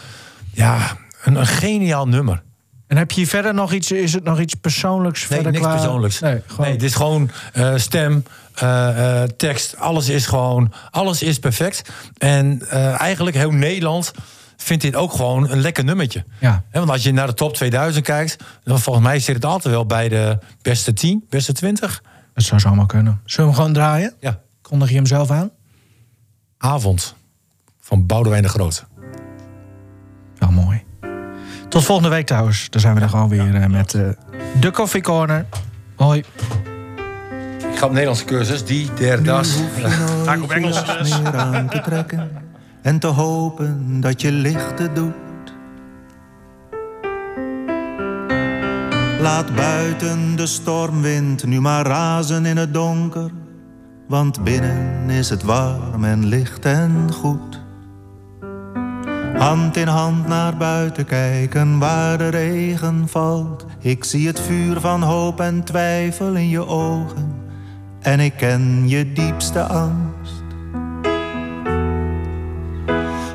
D: ja, een, een geniaal nummer.
C: En heb je hier verder nog iets, is het nog iets persoonlijks?
D: Nee,
C: verder
D: niks
C: qua-
D: persoonlijks.
C: Nee, gewoon...
D: het is gewoon eh, stem, eh, eh, tekst, alles is gewoon, alles is perfect. En eh, eigenlijk heel Nederland vindt dit ook gewoon een lekker nummertje.
C: Ja.
D: Hè, want als je naar de top 2000 kijkt, dan volgens mij zit het altijd wel bij de beste 10, beste 20.
C: Dat zou zomaar kunnen. Zullen we hem gewoon draaien?
D: Ja.
C: Kondig je hem zelf aan?
D: Avond van Boudewijn de Groot.
C: Wel mooi. Tot volgende week trouwens. Dan zijn we er gewoon weer eh, met eh, de Coffee Corner. Hoi.
D: Ik ga op Nederlandse cursus, die, der, das.
A: Ga ik op Engels. eh,
F: niets meer aan te trekken en te hopen dat je lichten doet. Laat buiten de stormwind nu maar razen in het donker, want binnen is het warm en licht en goed. Hand in hand naar buiten kijken waar de regen valt. Ik zie het vuur van hoop en twijfel in je ogen en ik ken je diepste angst.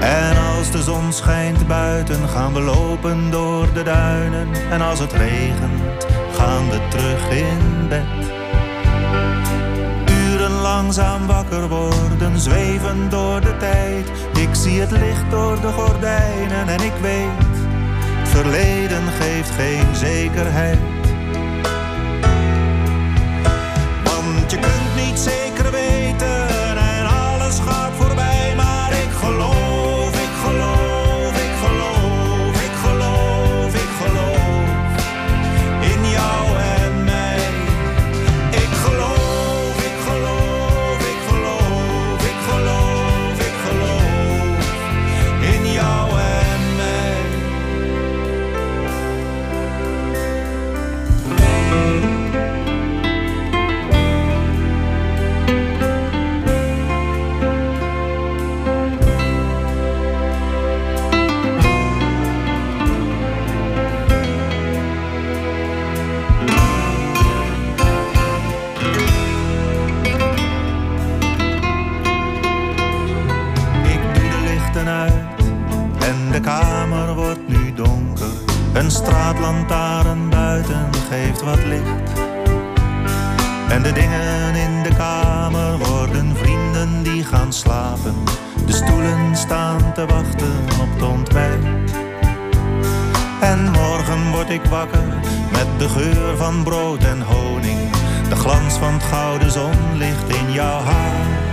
F: En als de zon schijnt buiten, gaan we lopen door de duinen. En als het regent, gaan we terug in bed. Uren langzaam wakker worden, zweven door de tijd. Ik zie het licht door de gordijnen en ik weet, het verleden geeft geen zekerheid. Want je kunt niet zeker weten en alles gaat voorbij. Maar ik geloof, ik geloof, ik geloof, ik geloof, ik geloof in jou en mij. Ik geloof, ik geloof, ik geloof, ik geloof, ik geloof in jou en mij. straatlantaarn buiten geeft wat licht. En de dingen in de kamer worden vrienden die gaan slapen. De stoelen staan te wachten op het ontbijt. En morgen word ik wakker met de geur van brood en honing. De glans van het gouden zonlicht in jouw haar.